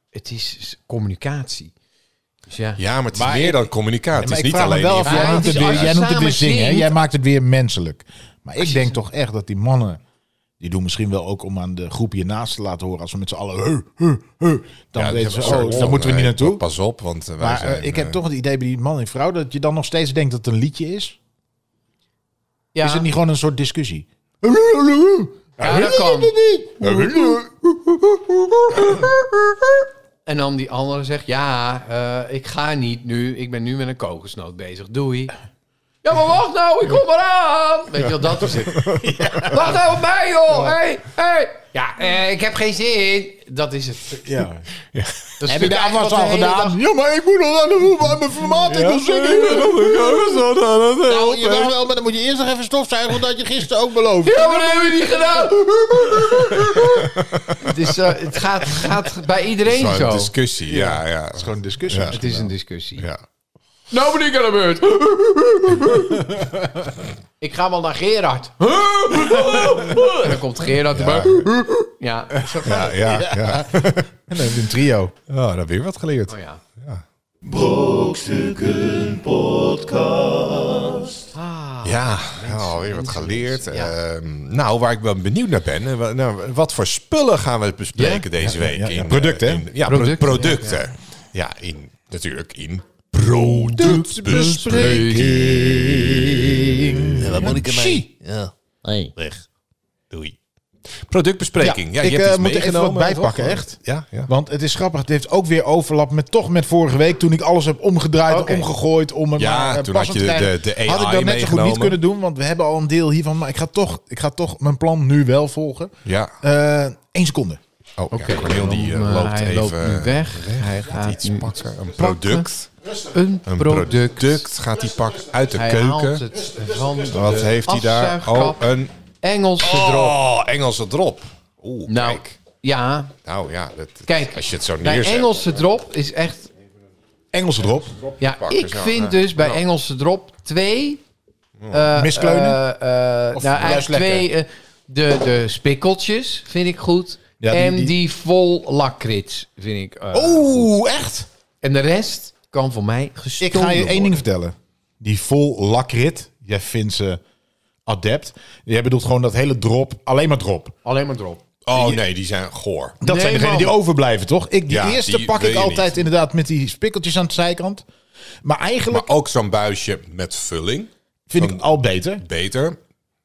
S5: het is communicatie. Dus ja.
S2: Ja, maar het is
S3: Maar
S2: meer
S3: ik-
S2: dan communicatie.
S3: maar ik
S2: het is niet
S3: vraag me
S2: alleen...
S3: wel
S2: die-
S3: af,
S5: die-
S3: jij noemt het
S5: Ja, het is
S3: weer,
S5: als
S3: jij
S5: je
S3: noemt het weer
S5: samen
S3: zingen, hè?
S5: zingt.
S3: jij maakt het weer menselijk. Maar ik denk toch echt dat die mannen, die doen misschien wel ook om aan de groep hiernaast te laten horen, als we met z'n allen, huh, huh, huh, dan
S2: Ja,
S3: weten ze,
S2: die hebben
S3: oh,
S2: zo'n
S3: daar moeten we niet
S2: eh,
S3: naartoe.
S2: Pas op, want eh, wij
S3: Maar eh,
S2: zijn,
S3: ik heb
S2: eh,
S3: toch het idee bij die man en vrouw dat je dan nog steeds denkt dat het een liedje is.
S5: Ja.
S3: Is het niet gewoon een soort discussie?
S5: Ja, dat kan. En dan die andere zegt, ja, eh, ik ga niet nu. Ik ben nu met een kokosnoot bezig. Doei. Ja, maar wacht nou, ik kom eraan. Weet je wel, dat is het. Wacht nou op mij, joh. Hey, hey. Ja, eh, ik heb geen zin. Dat is het.
S3: Ja.
S5: Dat is
S3: Heb je de
S5: natuurlijk
S3: afwas
S5: eigenlijk wat
S3: al
S5: de hele
S3: gedaan? Ja, maar ik moet nog aan de voetbal aan mijn formaat. Ik wil zingen. Nou, je mag wel, maar dan moet je eerst nog even stofzuigen, omdat je gisteren ook beloofd.
S5: Ja, maar dat hebben we niet gedaan. dus eh, het gaat, gaat bij iedereen
S2: zo'n
S5: zo.
S2: discussie, ja, ja.
S3: is gewoon een discussie.
S5: Het is een discussie.
S2: ja.
S5: Nou ben ik aan de beurt. ik ga wel naar Gerard. en dan komt Gerard erbij. Ja, zo gaat
S2: Ja,
S5: het.
S2: ja, ja.
S3: En dan heb je een trio.
S2: Oh, daar heb je wat geleerd.
S5: Oh ja.
S2: Ja, ja weer wat geleerd.
S5: mensen, ja.
S2: Ehm, nou, waar ik wel benieuwd naar ben. eh, wa- nou, wat voor spullen gaan we bespreken
S5: Ja?
S2: deze
S3: ja,
S2: week?
S3: ja, ja.
S2: eh,
S3: Producten, hè?
S2: in- ja, pro-
S5: Producten,
S2: producten. Ja, in, natuurlijk in productbespreking.
S1: Wat moet ik ermee?
S3: Zie.
S1: Ja. Hey.
S2: Weg. Doei. Productbespreking. Ja,
S3: ik,
S2: je hebt
S3: eh,
S2: iets
S3: moet er even
S2: meegenomen,
S3: wat bijpakken,
S2: toch?
S3: echt.
S2: Ja, ja.
S3: Want het is grappig, het heeft ook weer overlap met toch met vorige week toen ik alles heb omgedraaid
S5: Oké.
S3: en omgegooid om het
S2: Ja,
S3: maar eh,
S2: toen
S3: passend
S2: had je
S3: te krijgen.
S2: de- de
S3: Had ik dat
S2: AI
S3: net zo goed niet
S2: meegenomen.
S3: kunnen doen, want we hebben al een deel hiervan, maar ik ga toch, ik ga toch mijn plan nu wel volgen.
S2: ja.
S3: Eén seconde.
S2: Oh, ja, Cornel die eh, loopt
S5: hij
S2: even eh,
S5: loopt nu weg. Hij gaat
S2: iets
S5: nu
S2: pakken. Een product.
S5: Een
S2: Een
S5: product.
S2: product gaat hij pakken uit de
S5: Hij haalt
S2: keuken.
S5: het van
S2: Wat
S5: de
S2: heeft hij daar? Oh,
S5: afzuigkap.
S2: een
S5: Engelse drop.
S2: oh, Engelse drop. Oeh,
S5: Nou,
S2: kijk.
S5: ja.
S2: Nou ja, dat,
S5: Kijk,
S2: als je het zo
S5: Bij
S2: neerzet.
S5: Engelse drop is echt
S3: Engelse drop.
S5: Ja,
S2: pakken,
S5: ik
S2: zo.
S5: vind
S2: Ja.
S5: dus bij Engelse drop twee... eh,
S3: Miskleunen?
S5: eh, eh,
S3: Of
S5: nou,
S3: juist
S5: eigenlijk twee...
S3: lekker?
S5: eh, de, de spikkeltjes vind ik goed.
S3: Ja, die-
S5: en die,
S3: die-
S5: vol lakrits vind ik... eh,
S3: Oeh, echt?
S5: En de rest kan voor mij
S3: Ik
S5: gestolen
S3: ga je één
S5: worden.
S3: ding vertellen. Die vol lakrit, jij vindt ze adept. Jij bedoelt gewoon dat hele drop, alleen maar drop.
S5: Alleen maar drop.
S2: Oh nee, die zijn goor.
S3: Dat
S5: Nee,
S3: zijn degenen
S5: man.
S3: die overblijven, toch? Ik, die
S2: Ja,
S3: eerste
S2: die
S3: pak
S2: wil
S3: ik
S2: je
S3: altijd
S2: niet.
S3: inderdaad met die spikkeltjes aan de zijkant. Maar eigenlijk
S2: Maar ook zo'n buisje met vulling.
S3: vind ik al beter.
S2: Beter.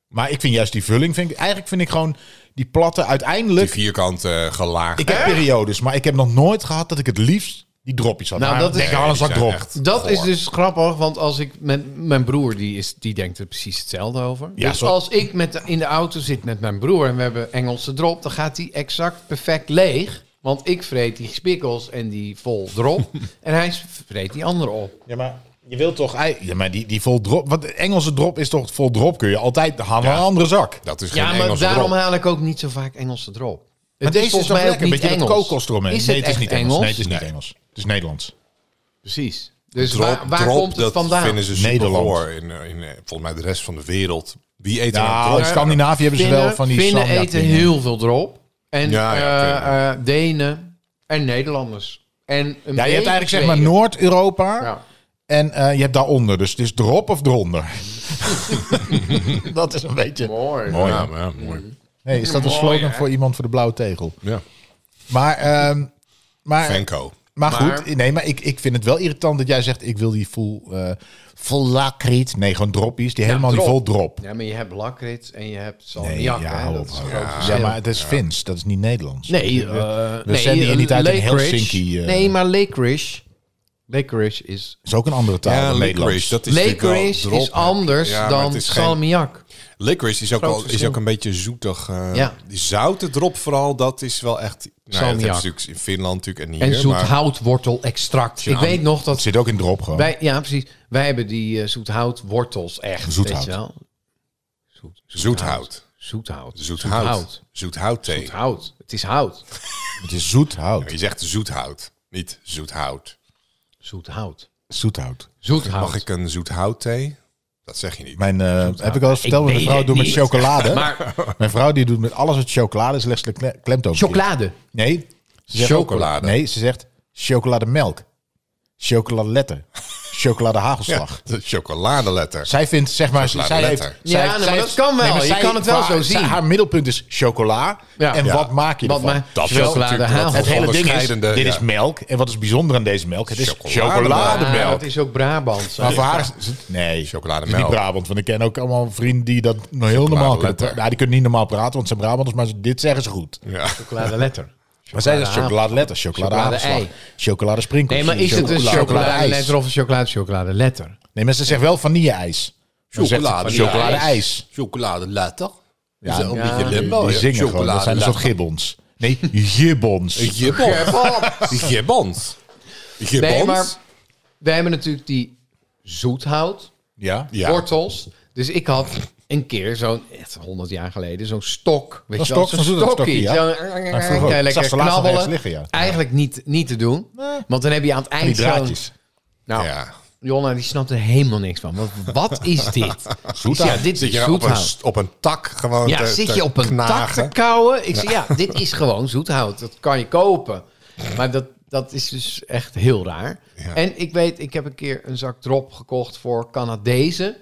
S3: Maar ik vind juist die vulling, vind ik, eigenlijk vind ik gewoon die platte
S2: Die
S3: uiteindelijk.
S2: vierkante eh, gelaagd.
S3: Ik heb periodes, maar ik heb nog nooit gehad dat ik het liefst die dropjes had.
S5: Nou,
S3: Maar
S5: dat is-
S3: denk aan een zak drop.
S5: Dat is dus grappig, want als ik met mijn broer, die, is, die denkt er precies hetzelfde over.
S3: Ja,
S5: dus
S3: zo-
S5: als ik met de- in de auto zit met mijn broer en we hebben Engelse drop, dan gaat die exact perfect leeg. Want ik vreet die spikkels en die vol drop. en hij vreet die andere op.
S3: Ja, maar je wilt toch... ei- Ja, maar die, die vol drop... Want de Engelse drop is toch vol drop? Kun je altijd halen aan
S2: Ja.
S3: een andere zak.
S2: Dat is geen
S5: Ja, maar
S2: Engelse
S5: daarom
S2: drop.
S5: haal ik ook niet zo vaak Engelse drop.
S3: Maar
S5: Het
S3: deze is,
S5: volgens
S3: toch
S5: mij ook
S3: lekker? Een beetje
S5: niet
S3: dat
S5: Engels.
S3: kokos eromheen.
S5: Is
S3: nee,
S5: het
S3: het is
S5: echt
S3: niet Engels. Nee, het is niet
S2: Nee.
S3: Engels. Het is Nederlands.
S5: Precies. Dus
S2: Drop,
S5: waar, waar
S2: drop,
S5: komt het
S2: dat
S5: vandaan?
S2: vinden ze super
S3: Nederland.
S2: goor. In, eh, in, eh, volgens mij de rest van de wereld. Wie eet er
S3: Ja,
S2: nou
S3: in
S2: drop?
S3: Scandinavië hebben ze wel van die
S5: Finnen
S3: salmiak
S5: eten
S3: dingen.
S5: heel veel drop. En
S2: Ja, ja,
S5: eh, eh, Denen en Nederlanders. En een
S3: Ja, je hebt
S5: beetje
S3: eigenlijk zeg maar
S5: Zweden.
S3: Noord-Europa
S5: Ja.
S3: en eh, je hebt daaronder. Dus het is erop of eronder. dat is een beetje...
S5: Mooi.
S2: Mooi, Oh, ja, maar ja,
S5: Mm.
S2: mooi.
S3: Hey, is dat een
S5: Mooi,
S3: slogan
S5: hè?
S3: voor iemand voor de blauwe tegel?
S2: Ja.
S3: Maar, ehm maar
S2: Venko.
S3: Maar,
S5: Maar-
S3: goed, nee, maar ik, ik vind het wel irritant dat jij zegt... ik wil die full, eh full lakrit. Nee, gewoon droppies. Die helemaal
S5: drop.
S3: die vol drop.
S5: Ja, maar je hebt lakrits en je hebt
S3: Nee,
S5: salmiak.
S3: ja,
S5: hè,
S3: hou
S5: dat
S3: op.
S5: is een
S3: Ja,
S5: groot
S3: Ja,
S5: verschil.
S3: maar het is Fins. Dat is niet Nederlands.
S5: Nee,
S3: We-
S5: eh,
S3: we
S5: nee,
S3: zenden in die tijd in
S5: licorice.
S3: Helsinki. eh,
S5: nee, maar licorice. Licorice is.
S3: is ook een andere taal
S2: Ja,
S3: dan
S2: licorice.
S3: Nederlands.
S2: Dat is natuurlijk
S5: Licorice
S2: wel
S5: is
S2: drop, hè.
S5: anders
S2: Ja, maar het
S5: dan
S2: is geen-
S5: salmiak.
S2: Licorice is ook,
S5: Groot
S2: wel, is
S5: verschil.
S2: ook een beetje zoetig. eh
S5: Ja.
S2: Die zoute drop vooral, dat is wel echt... Nou, ja, dat
S5: Salmiak.
S2: heb je natuurlijk in Finland natuurlijk en hier.
S5: En zoet
S2: maar-
S5: houtwortel-extract. Ik weet nog
S3: Dat
S5: dat.
S3: zit ook in drop gewoon.
S5: Wij, ja, precies. Wij hebben die eh, zoethoutwortels echt.
S3: Zoethout.
S5: Weet je wel? Zoet,
S2: Zoethout.
S5: Zoethout.
S2: Zoethout. Zoethout thee.
S5: Zoethout. Het is hout.
S3: Het is zoet
S2: Ja,
S3: hout.
S2: Je zegt zoethout, niet zoethout.
S5: Zoethout.
S3: Zoet hout.
S5: Zoethout.
S2: Mag ik een zoethout thee? Dat zeg je niet.
S3: Mijn, eh, heb ik al eens verteld, mijn
S5: weet
S3: vrouw
S5: het
S3: doet met
S5: niet.
S3: chocolade.
S5: Maar
S3: Mijn vrouw die doet met alles wat chocolade is, legt ze de kle- klemtoon.
S5: chocolade.
S3: Nee. Ze zegt-
S2: Chocolade.
S3: Nee, ze zegt chocolademelk. Chocoladeletter. Chocoladehagelslag.
S2: De chocoladeletter.
S3: Zij vindt, zeg maar... Zij heeft,
S2: Chocoladeletter.
S5: Ja,
S3: zij-
S5: nee, maar
S3: zij
S5: dat
S3: heeft-
S5: kan wel.
S3: maar
S5: Je
S3: zij-
S5: kan het wel
S3: qua-
S5: zo
S3: zij-
S5: zien.
S3: Haar middelpunt is chocola.
S5: Ja.
S3: En
S5: Ja.
S3: wat maak je
S5: Wat
S3: ervan?
S5: mij-
S2: Dat is
S5: Chocolade
S2: natuurlijk
S5: hagel.
S2: wat
S3: Het hele ding is,
S2: onderscheidende,
S3: dit
S2: ja.
S3: is melk. En wat is bijzonder aan deze melk? Het is
S2: Chocolademelk.
S5: Ah,
S3: chocolademelk.
S5: dat is ook Brabant.
S3: Maar voor haar is het- Nee,
S2: Chocolademelk.
S3: Het is Niet Brabant, want ik ken ook allemaal vrienden die dat nou heel normaal kunnen
S2: Chocoladeletter.
S3: praten. Nou, die kunnen niet normaal praten, want ze zijn Brabanters, maar ze- dit zeggen ze goed.
S2: Ja.
S5: Chocolade letter.
S3: Maar zij zeggen chocoladeletter, chocolade
S5: Chocolade-ei.
S3: chocoladesprinkels.
S5: Nee, maar is het een
S3: chocoladeijs.
S5: chocolade letter of een chocolade chocolade letter?
S3: Nee, maar ze zegt wel vanille-ijs. Dan zegt ze Chocolade-ijs.
S2: Chocoladeletter.
S3: Ja,
S2: Ja, een
S5: ja.
S2: beetje limbo.
S3: Die
S2: ja.
S3: zingen gewoon, dat zijn dus een soort
S2: Chocoladeletter.
S3: gibbons. Nee, gibbons.
S2: Gibbons. Gibbons. Gibbons.
S5: Nee, maar wij hebben natuurlijk die zoethout,
S3: Ja?
S2: Ja.
S5: wortels. Dus ik had een keer zo'n, echt 100 jaar geleden, zo'n stok. Weet
S3: Een
S5: je wel,
S3: stok, zo'n zoethoutstokkie, ja. Maar vroeger ook.
S5: Zo'n-
S3: Ik zag
S5: lekker
S3: ze laatst nog
S5: knabbelen.
S3: ergens liggen, ja.
S5: Eigenlijk niet, niet te doen. Want dan heb je aan het
S3: Die
S5: eind zo'n...
S3: draadjes.
S5: Nou,
S2: Ja.
S5: Jonna die snapt er helemaal niks van. Want wat is dit?
S2: Zoethout.
S5: Ja, dit
S2: Zit
S5: is
S2: je nou op een,
S5: zoethout.
S2: st- op een tak gewoon
S5: Ja,
S2: Oh, te-
S5: zit
S2: te
S5: je op een tak
S2: knagen?
S5: te kauwen? Ik zeg, ja, dit is gewoon zoethout. Dat kan je kopen. Maar dat, dat is dus echt heel raar.
S2: Ja.
S5: En ik weet, ik heb een keer een zak drop gekocht voor Canadezen.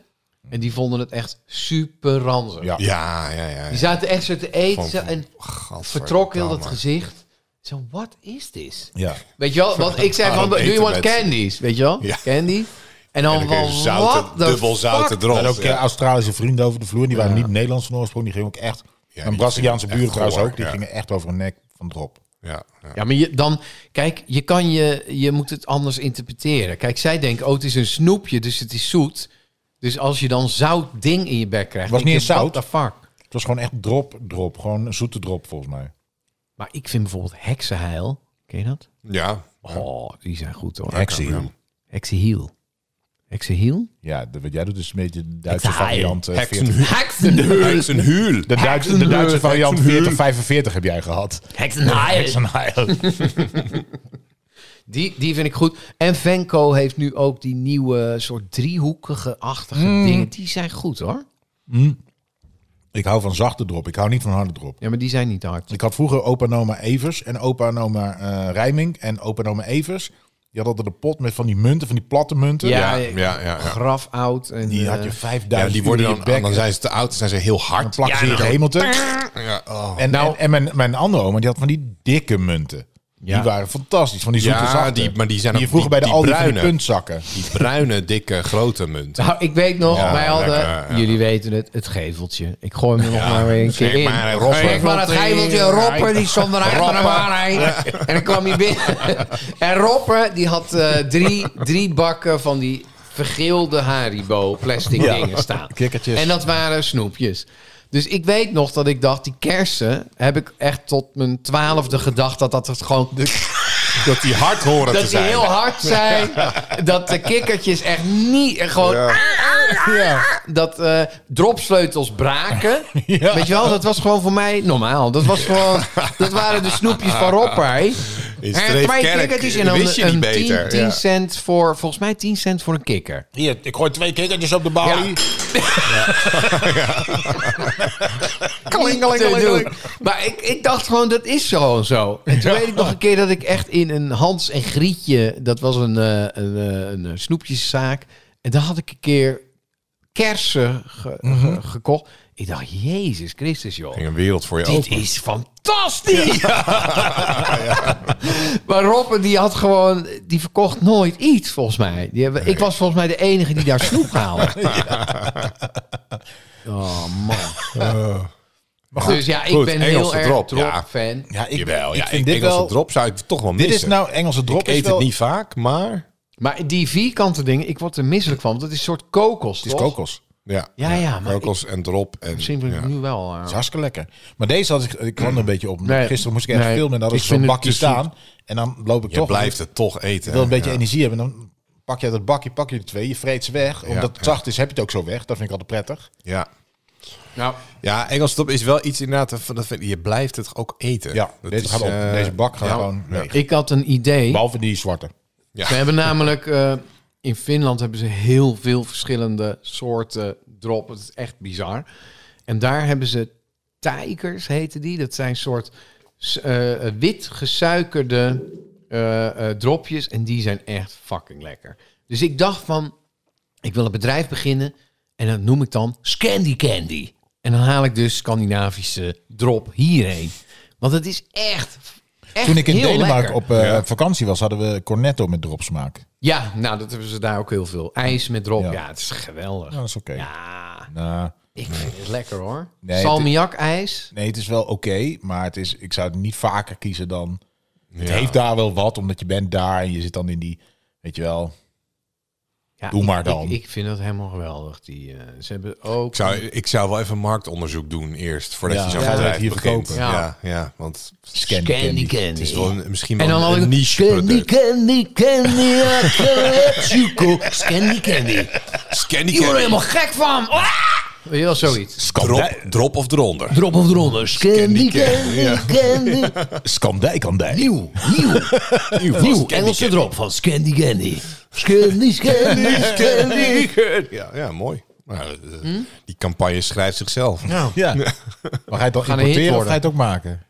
S5: En die vonden het echt super ranzig.
S3: Ja.
S2: Ja, ja, ja.
S5: Die zaten echt zo te eten
S2: Van-
S5: zo, en
S2: Gadverdamme.
S5: vertrok heel dat gezicht. Zo, wat is dit?
S3: Ja.
S5: Weet je wel? Want ik zei
S2: Ah,
S5: van, do
S2: dat
S5: you
S2: eten met-
S5: want candies? Weet je wel?
S2: Ja.
S5: Candy. En dan,
S2: En dan kun je
S5: van,
S2: zouten-
S5: what the
S2: dubbel zouten
S5: fuck?
S2: erop.
S3: En ook eh,
S2: Ja.
S3: Australische vrienden over de vloer. Die waren niet Nederlands van oorsprong. Die gingen ook echt... en
S2: die
S3: Braziliaanse
S2: gingen echt
S3: buren trouwens
S2: goor,
S3: ook. Die
S2: ja.
S3: gingen echt over hun nek van drop.
S2: Ja, ja.
S5: Ja, maar je, dan, kijk, je, kan je, je moet het anders interpreteren. Kijk, zij denken, oh, het is een snoepje, dus het is zoet. Dus als je dan zout ding in je bek krijgt...
S3: Was
S5: denk
S3: niet
S5: je,
S3: eens zout.
S5: what the fuck?
S3: Het was gewoon echt drop, drop. Gewoon een zoete drop volgens mij.
S5: Maar ik vind bijvoorbeeld heksenheil, ken je dat?
S2: Ja.
S5: Oh, die zijn goed hoor.
S3: Hexie.
S5: Heksenhiel. Heksenhiel?
S3: Ja, de- wat jij doet is een beetje de Duitse
S5: Hexaai.
S3: variant. eh, 40.
S2: Heksenhuul.
S5: Heksenheul.
S2: Heksenhuul.
S3: De Duitse, de Duitse variant 4045 heb jij gehad.
S5: Heksenheil. Die, die vind ik goed. En Venko heeft nu ook die nieuwe soort driehoekige achtige
S3: Hmm.
S5: dingen. Die zijn goed hoor.
S3: Ik hou van zachte drop. Ik hou niet van harde drop.
S5: Ja, maar die zijn niet hard.
S3: Ik had vroeger opa en oma Evers en opa en oma eh, Rijming en opa en oma Evers. Die hadden altijd een pot met van die munten, van die platte munten.
S5: Ja,
S2: Ja, ja, ja. ja.
S5: graf oud. En,
S3: Die
S5: eh,
S3: had je 5000
S2: Ja, die worden
S3: uur in
S2: dan,
S3: je bek.
S2: dan zijn ze te oud, dan zijn ze heel
S3: Dan
S2: hard.
S3: plakken ze in je gehemelte. En,
S2: Ja, oh.
S3: en,
S5: Nou-
S3: en mijn, mijn andere oma, die had van die dikke munten.
S5: Ja.
S3: Die waren fantastisch, van die zoete
S2: Ja,
S3: zachte.
S2: die- maar die zijn
S3: je
S2: ook-
S3: vroeger
S2: die-
S3: bij de
S2: die
S3: Aldi van die
S2: bruine.
S3: puntzakken.
S2: Die bruine, dikke, grote munt.
S5: Nou, ik weet nog,
S2: Ja,
S5: wij hadden,
S2: lekker, ja.
S5: jullie weten het, het geveltje. Ik gooi hem er nog maar weer een keer
S2: zeg
S5: in.
S2: maar,
S5: Roppen.
S2: Roppe.
S5: Ik van het geveltje, Roppen, die stond er achter hem aan heen. En dan kwam hij binnen. En Roppen, die had eh, drie, drie bakken van die vergeelde Haribo plastic dingen staan.
S3: Kikkertjes.
S5: En dat waren snoepjes. Dus ik weet nog dat ik dacht, die kersen heb ik echt tot mijn twaalfde gedacht dat dat het gewoon
S2: Dat die hard horen te
S5: dat die
S2: zijn.
S5: heel hard zijn. Dat de kikkertjes echt niet... Gewoon... Dat eh, dropsleutels braken. Weet je wel, dat was gewoon voor mij normaal. Dat was gewoon... Dat waren de snoepjes van Roppij.
S2: In
S5: En twee
S2: Streefkerk
S5: kikkertjes en dan
S2: wist je niet
S5: een 10,
S2: beter,
S5: 10
S2: ja.
S5: cent voor... Volgens mij 10 cent voor een kikker.
S3: Hier, ik gooi twee kikkertjes op de balie.
S5: Klingelingeling. Maar ik, ik dacht gewoon, dat is gewoon zo. En toen weet ik nog een keer dat ik echt in een Hans en Grietje... Dat was een, eh, een, eh, een eh, snoepjeszaak. En daar had ik een keer kersen ge- ge- gekocht. Ik dacht, jezus Christus, joh.
S2: Ging een wereld voor je
S5: Dit
S2: open.
S5: is fantastisch! Maar Rob, die had gewoon, die verkocht nooit iets volgens mij. Die hebben, Ik was volgens mij de enige die daar snoep haalde. Oh man. dus ja, ik
S2: goed,
S5: ben
S2: Engelse
S5: heel erg
S2: drop,
S5: drop,
S2: ja.
S5: fan.
S3: Ja, ik,
S2: Jawel,
S3: ik
S2: ja,
S3: vind
S2: ik,
S3: dit
S2: Engelse
S3: wel...
S2: drop zou ik toch wel missen.
S3: Dit is nou Engelse drop.
S2: ik
S3: is
S2: eet
S3: wel-
S2: het niet vaak, maar...
S5: Maar die vierkante dingen, ik word er misselijk van. Want dat is een soort kokos,
S3: Het is
S5: toch?
S3: kokos.
S2: Ja,
S5: Ja, ja, maar ik,
S2: kokos en drop. En,
S5: misschien vind ik het nu wel... eh,
S3: Het is hartstikke lekker. Maar deze had ik, ik kwam er een beetje op.
S5: Nee.
S3: Gisteren moest ik ergens
S5: Nee.
S3: filmen en dan had ik
S5: Ik
S3: zo'n
S5: vind het
S3: bakje
S5: te zoet.
S3: staan. En dan loop ik
S2: Je
S3: toch.
S2: blijft het toch eten.
S3: Ik wil een beetje
S2: ja.
S3: energie hebben. Dan pak je dat bakje, pak je er twee. Je vreet ze weg. Omdat het
S2: ja.
S3: zacht is, heb je het ook zo weg. Dat vind ik altijd prettig.
S2: Ja.
S5: nou,
S2: ja, Engelse drop is wel iets inderdaad... van- dat vind- Je blijft het ook eten.
S3: Ja,
S2: Dat
S3: deze,
S2: is,
S3: gaat op.
S2: eh,
S3: deze bak gaat
S5: ja.
S3: gewoon leeg.
S5: ik had een idee.
S3: Behalve die zwarte.
S2: Ja.
S5: Ze hebben namelijk eh, in Finland hebben ze heel veel verschillende soorten drop. Het is echt bizar. En daar hebben ze tijgers, heten die. Dat zijn soort s- eh, wit gesuikerde eh, eh, dropjes. En die zijn echt fucking lekker. Dus ik dacht van, ik wil een bedrijf beginnen. En dat noem ik dan Scandy Candy. En dan haal ik dus Scandinavische drop hierheen. Want het is echt, echt
S3: Toen ik in
S5: heel
S3: Denemarken
S5: lekker.
S3: op eh, vakantie was, hadden we cornetto met dropsmaak.
S5: Ja, nou, dat hebben ze daar ook heel veel. IJs met drop.
S3: Ja.
S5: Ja, het is geweldig.
S3: Ja, dat is oké.
S5: Ja,
S3: Nou,
S5: ik vind het lekker hoor.
S3: Nee,
S5: Salmiak ijs.
S3: nee, het is wel oké. maar het is, ik zou het niet vaker kiezen dan... Het
S2: Ja.
S3: heeft daar wel wat, omdat je bent daar en je zit dan in die... Weet je wel,
S5: Ja,
S3: Doe
S5: ik-
S3: maar
S5: ik-
S3: dan.
S5: Ik, vind dat helemaal geweldig. Die, eh, ze hebben ook...
S2: Ik zou, ik zou wel even marktonderzoek doen eerst, voordat
S3: Ja,
S2: je zo'n
S3: ja,
S2: bedrijf
S3: dat hier
S2: begint.
S3: verkopen.
S2: Ja.
S5: Ja.
S2: Ja, want
S3: Scandy
S5: Scandy
S3: candy.
S5: candy.
S2: het is wel een- misschien wel
S5: en dan had
S2: een,
S5: ik
S2: een
S5: een
S2: niche
S5: Candy,
S2: product.
S5: candy, candy, I collect you, go. Scandy, candy.
S2: Scandy
S5: Ik word er helemaal
S2: candy.
S5: gek van. Ah! Weet je wel, zoiets.
S2: Drop, drop of eronder.
S5: Drop of eronder. Scandy,
S2: candy,
S5: candy, candy.
S3: Skandijk aan dijk.
S5: Nieuw, nieuw. Nieuw, Engelse drop van Scandy, candy. Scandy, scandy, scandy, candy.
S2: Ja, ja mooi. Maar, eh,
S5: Hm?
S2: Die campagne schrijft zichzelf. Ja.
S3: Ja. Maar ga je het dan
S5: Gaan een hit
S3: importeren of
S5: worden.
S3: ga je het ook maken?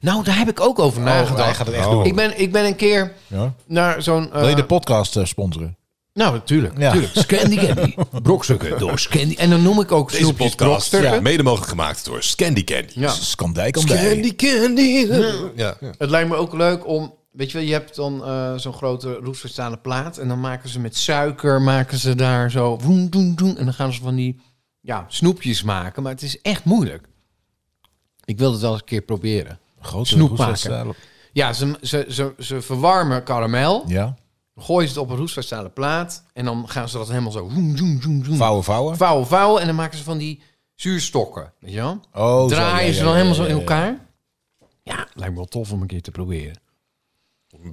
S5: Nou, daar heb ik ook over nagedacht.
S3: hij gaat het echt
S2: Oh.
S3: doen.
S5: Ik ben, ik ben een keer
S3: Ja.
S5: naar zo'n... eh,
S3: Wil je de podcast eh, sponsoren?
S5: nou, natuurlijk.
S3: Ja.
S5: natuurlijk. Scandy Candy. Brokstukken door Scandy. En dan noem ik ook
S2: Deze
S5: snoepjes
S2: podcast ja,
S5: brokstukken.
S2: mede mogelijk gemaakt door Scandy Candy.
S5: Ja.
S3: Skandijk aan dijk.
S2: Scandy Candy. Ja. Ja.
S5: Het lijkt me ook leuk om... Weet je wel, je hebt dan eh, zo'n grote roestverstaande plaat. En dan maken ze met suiker, maken ze daar zo... Woen, doen, doen, en dan gaan ze van die ja, snoepjes maken. Maar het is echt moeilijk. Ik wil het wel eens een keer proberen.
S3: Grote
S5: Snoep
S3: roestverstalen.
S5: Ja, ze, ze, ze, ze verwarmen karamel.
S3: Ja.
S5: Gooien ze het op een roestverstaande plaat. En dan gaan ze dat helemaal zo... Woen, doen, doen, doen.
S3: Vouwen, vouwen.
S5: vouwen, vouwen en dan maken ze van die zuurstokken, weet je wel?
S3: Oh, zo,
S5: Draaien
S3: ja, ja,
S5: ze dan
S3: ja,
S5: helemaal
S3: ja,
S5: zo in
S3: ja.
S5: elkaar? Ja, lijkt me wel tof om een keer te proberen.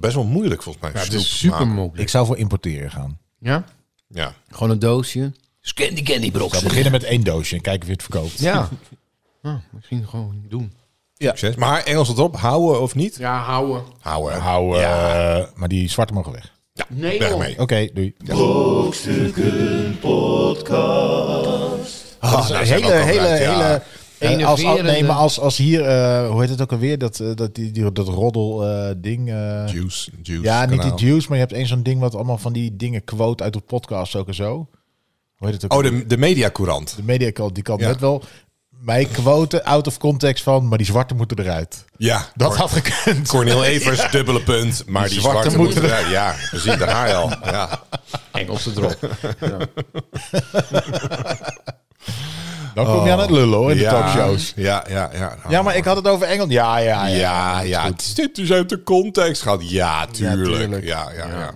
S2: Best wel moeilijk volgens mij.
S5: Ja, het
S2: Snoep
S5: is super
S2: maken.
S5: moeilijk.
S3: Ik zou voor importeren gaan.
S5: Ja,
S2: Ja.
S5: gewoon een doosje. Candy candy
S3: Ik zou
S5: brokjes.
S3: beginnen met één doosje en kijken of je het verkoopt.
S5: Ja. Nou, misschien gewoon doen.
S2: Succes. Maar Engelse drop, houden of niet?
S5: Ja, houden.
S2: Houden.
S3: Hou, eh, maar die zwarte mogen weg.
S5: Nee,
S2: Weg
S5: joh.
S2: mee.
S3: Oké, doei. nou, Ja.
S2: Ah,
S3: Dat is
S2: nou,
S3: een
S2: zijn we
S3: hele,
S2: ook al
S3: hele,
S2: uit, ja.
S3: hele... eh,
S5: Enerverende-
S3: als, als, nee, maar als, als hier, eh, hoe heet het ook alweer, dat, eh, dat, die, die, dat roddel eh, ding. eh,
S2: Juice. juice
S3: ja, niet
S2: kanaal.
S3: die juice, maar je hebt één zo'n ding wat allemaal van die dingen quote uit de podcast ook en zo. Hoe heet het ook
S2: Oh,
S3: alweer?
S2: de, de mediacourant.
S3: De media kan, die kan
S2: Ja.
S3: net wel mij quoten out of context van, maar die zwarte moeten eruit.
S2: Ja.
S3: Dat had gekund.
S2: Cornel Evers, dubbele punt. Maar die, zwarte,
S3: moeten
S2: moeten eruit. Ja, we zien daar haar al. Ja.
S5: Engelse drop.
S3: Dan kom je aan het lullen hoor, in de talkshows.
S2: Oh. Ja, ja, ja. Nou,
S3: Ja, maar ik had het over Engeland. Ja, ja, ja.
S2: Ja, ja. Het is dit dus uit de context gehad. Ja,
S3: tuurlijk.
S2: tuurlijk. Ja, ja, ja.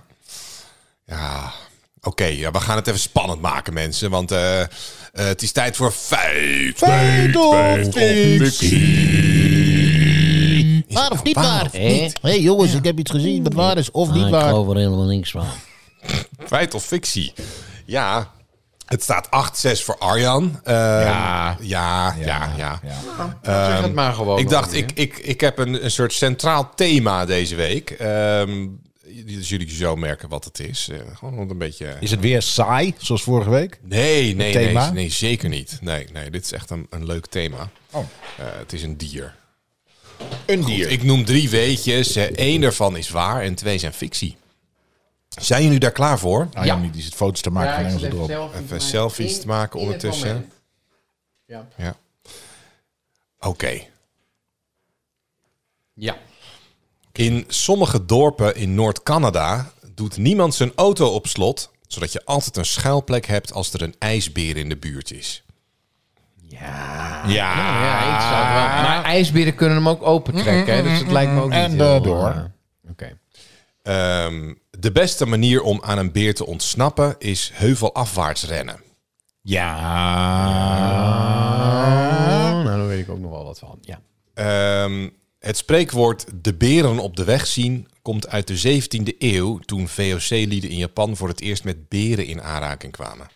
S2: ja. Oké, ja, we gaan het even spannend maken, mensen. Want eh, eh, het is tijd voor feit.
S3: Feit of fictie.
S2: Is het nou waar? Ah,
S5: niet?
S3: hey, jongens, ik heb iets gezien wat waar is of niet
S6: ik geloof er helemaal niks van.
S2: Feit of fictie? Ja, het staat 8-6 voor Arjan. Eh, ja, ja, ja,
S3: Ja.
S5: zeg het maar gewoon.
S2: Ik
S5: nog
S2: dacht,
S5: een keer.
S2: ik, ik, ik heb een, een soort centraal thema deze week. Ehm, dus jullie zo merken wat het is. Eh, gewoon om het een beetje...
S3: Is het weer saai, zoals vorige week?
S2: Nee, nee, nee,
S3: thema?
S2: nee, zeker niet. Nee, nee, dit is echt een, een leuk thema.
S3: Oh.
S2: Eh, het is een dier.
S3: Een
S2: Goed, ik noem drie weetjes. Eh, Eén daarvan is waar en twee zijn fictie. Zijn jullie daar klaar voor?
S3: Ah, ja, die zit foto's te maken
S5: Ja,
S3: van
S5: ik zit
S3: Engelse
S5: even
S3: drop.
S2: Even
S5: selfies te maken.
S2: selfies te maken
S5: In- in het
S2: ondertussen.
S5: moment. Ja.
S2: Ja. Oké.
S5: Ja.
S2: In sommige dorpen in Noord-Canada doet niemand zijn auto op slot, zodat je altijd een schuilplek hebt als er een ijsbeer in de buurt is.
S5: Ja.
S2: Ja,
S5: ja, ik zou het wel. Maar ijsberen kunnen hem ook opentrekken. hè, Dus het lijkt me ook niet
S3: En,
S5: heel,
S3: eh, door.
S5: eh, Oké.
S2: Ehm, de beste manier om aan een beer te ontsnappen is heuvelafwaarts rennen.
S3: Ja.
S5: nou, daar weet ik ook nog wel wat van. Ja.
S2: Ehm, het spreekwoord de beren op de weg zien komt uit de 17e eeuw, toen VOC-lieden in Japan voor het eerst met beren in aanraking kwamen.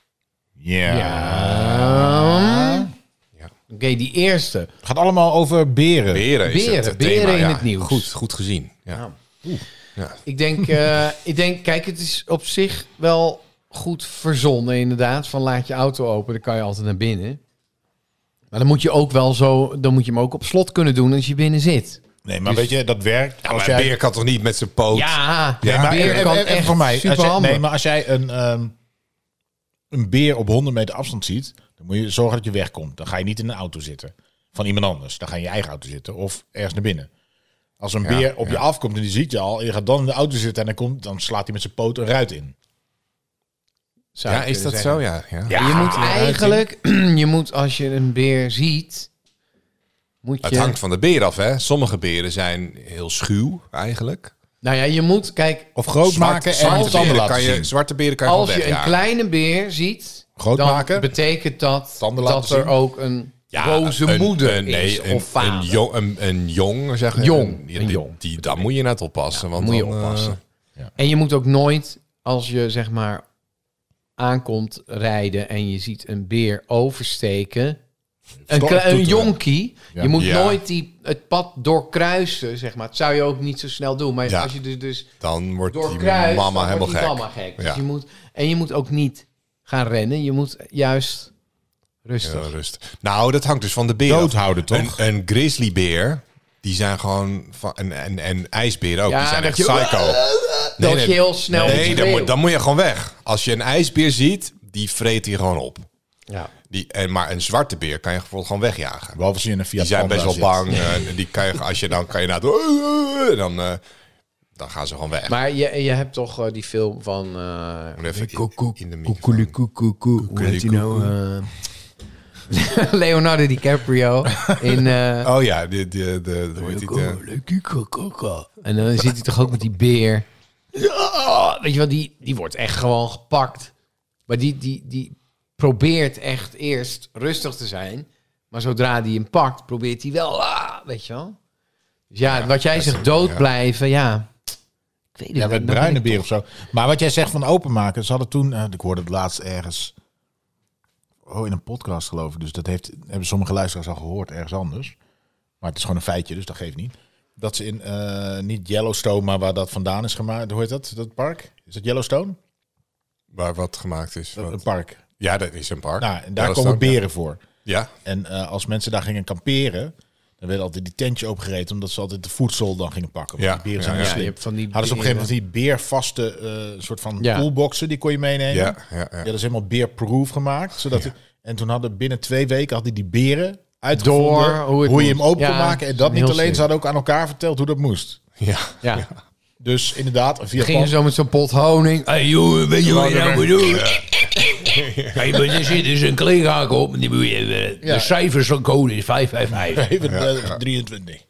S5: Oké, die eerste.
S3: Het gaat allemaal over beren.
S2: Beren, is het,
S5: Beren,
S2: eh,
S5: beren
S2: thema,
S5: in
S2: ja.
S5: het nieuws.
S2: Goed, goed gezien. Ja.
S5: Ik denk, eh, ik denk, kijk, het is op zich wel goed verzonnen inderdaad. Van laat je auto open, dan kan je altijd naar binnen. Maar dan moet je ook wel zo, dan moet je hem ook op slot kunnen doen als je binnen zit.
S3: Nee, maar weet je, dat werkt.
S2: dus- Ja,
S3: als
S2: Ah, maar
S3: jij...
S2: een beer kan toch niet met zijn poot?
S5: Ja,
S3: Nee, maar
S5: een beer
S3: even-
S5: kan
S3: even
S5: echt
S3: voor mij. Als jij,
S5: superhandig.
S3: nee, maar als jij een, ehm, een beer op 100 meter afstand ziet, dan moet je zorgen dat je wegkomt. Dan ga je niet in een auto zitten van iemand anders. Dan ga je in je eigen auto zitten of ergens naar binnen. Als een beer op je afkomt en die ziet je al, en je gaat dan in de auto zitten en dan, komt, dan slaat hij met zijn poot een ruit in.
S5: Zou
S2: Ja,
S5: ik
S2: is
S5: kunnen
S2: dat
S5: zeggen.
S2: zo? Ja, ja.
S5: je moet eigenlijk, je moet als je een beer ziet, moet je...
S2: Het hangt van de beer af, hè? Sommige beren zijn heel schuw, eigenlijk.
S5: Nou ja, je moet, kijk,
S3: Of groot maken en
S2: zwarte
S3: je tanden
S2: beren
S3: laten
S2: kan je,
S3: zien.
S2: zwarte beren kan je
S5: als
S2: gewoon
S5: je een
S2: wegjagen.
S5: kleine beer ziet,
S3: Groot
S5: dan
S3: maken.
S5: betekent dat
S3: Tanden
S5: dat
S3: laten
S5: er
S3: zien.
S5: ook een
S2: Ja,
S5: boze
S2: een-
S5: moeder
S2: een-
S5: is
S2: een,
S5: of vader.
S2: Een jong, een, een jong zeg
S5: Jong,
S2: een-
S5: een
S2: die,
S5: jong.
S2: die- daar moet je net oppassen. want
S5: moet je
S2: dan, eh,
S5: oppassen. En je moet ook nooit, als je zeg maar aankomt rijden en je ziet een beer oversteken, een, kle- een
S3: toeteren.
S5: jonkie, je moet
S2: Ja.
S5: nooit die, het pad doorkruisen, zeg maar. Dat zou je ook niet zo snel doen, maar
S2: Ja.
S5: als je dus, dus
S2: dan wordt die
S5: doorkruist, dan
S2: mama
S5: wordt
S2: helemaal
S5: die
S2: gek.
S5: mama gek. Dus
S2: Ja.
S5: je moet, en je moet ook niet gaan rennen, je moet juist rustig.
S2: Ja, rust. Nou, dat hangt dus van de beer. af.
S3: Doodhouden, toch?
S2: Een, een grizzlybeer, die zijn gewoon... Van, en, en, en ijsberen ook,
S5: Ja,
S2: die zijn
S5: dat
S2: echt
S5: je-
S2: psycho.
S5: dat je heel snel
S2: Nee,
S5: moet
S2: dan
S5: schreeuwen.
S2: moet, dan moet je gewoon weg. Als je een ijsbeer ziet, die vreet hij gewoon op.
S5: Ja.
S2: Die, en, maar een zwarte beer kan je bijvoorbeeld gewoon wegjagen.
S3: Behalve als je in een Fiat
S2: Die zijn
S3: Panda
S2: best wel
S3: zit.
S2: bang. eh, die kan je, als je dan kan je na dan, eh, dan gaan ze gewoon weg.
S5: Maar je, je hebt toch eh, die film van... eh,
S2: Moet even in- in de microfoon.
S5: Koekoekoekoekoe. Hoe heet die nou? eh? Leonardo DiCaprio in... eh,
S2: Oh ja, de, de, de, de, hoe heet die, de-
S5: En dan zit hij toch ook met die beer. Ja, Weet je wel, die, die wordt echt gewoon gepakt. Maar die, die, die probeert echt eerst rustig te zijn. Maar zodra die hem pakt, probeert hij wel... ah, weet je wel? Dus ja, wat jij zegt, dood
S2: ja.
S5: blijven, ja. Ik weet het
S3: Ja, met
S5: niet, dan
S3: bruine
S5: ben ik
S3: beer of zo. Maar wat jij zegt van openmaken, ze hadden toen, eh, ik hoorde het laatst ergens, oh in een podcast geloof ik, dus dat heeft, hebben sommige luisteraars al gehoord ergens anders. Maar het is gewoon een feitje, dus dat geeft niet. Dat ze in, eh, niet Yellowstone, maar waar dat vandaan is gemaakt, hoe heet dat, dat park? Is dat Yellowstone?
S2: waar wat gemaakt is.
S3: Dat- Een
S2: Wat-
S3: park.
S2: Ja, dat is een park.
S3: Nou, en
S2: Ja,
S3: daar
S2: dat
S3: komen
S2: staat- ja.
S3: beren voor.
S2: Ja,
S3: En eh, als mensen daar gingen kamperen, dan werden altijd die tentje opgereten, omdat ze altijd de voedsel dan gingen pakken. Want
S2: Ja,
S3: die beren
S2: ja,
S3: zijn
S2: ja.
S3: heel
S5: toch- Ja, je
S3: slim.
S5: hebt van die
S3: Hadden ze op een gegeven
S5: beren.
S3: moment die beervaste eh soort van
S5: Ja.
S3: poolboxen, die kon je meenemen.
S2: ja, ja,
S3: Ja,
S2: ja.
S3: dat is helemaal beerproof gemaakt. Zodat die- en toen hadden binnen twee weken hadden die beren
S5: Door
S3: uitgevonden
S5: hoe
S3: hoe,
S5: het
S3: je hem
S5: moest.
S3: open kon
S5: Ja,
S3: maken. En
S5: dat
S3: dat
S5: is
S3: niet
S5: heel
S3: alleen, ze
S5: slim.
S3: hadden ook aan elkaar verteld hoe dat moest.
S2: ja.
S5: Ja.
S3: Dus inderdaad, via
S5: Gingen zo met zo'n pot honing.
S1: Hey jongen, weet je wat je nou moet doen? Hey, maar er zit dus een kleerhaak op. en Die moet je, eh,
S3: Ja.
S1: De cijfers van code is 555.
S3: even eh, 23.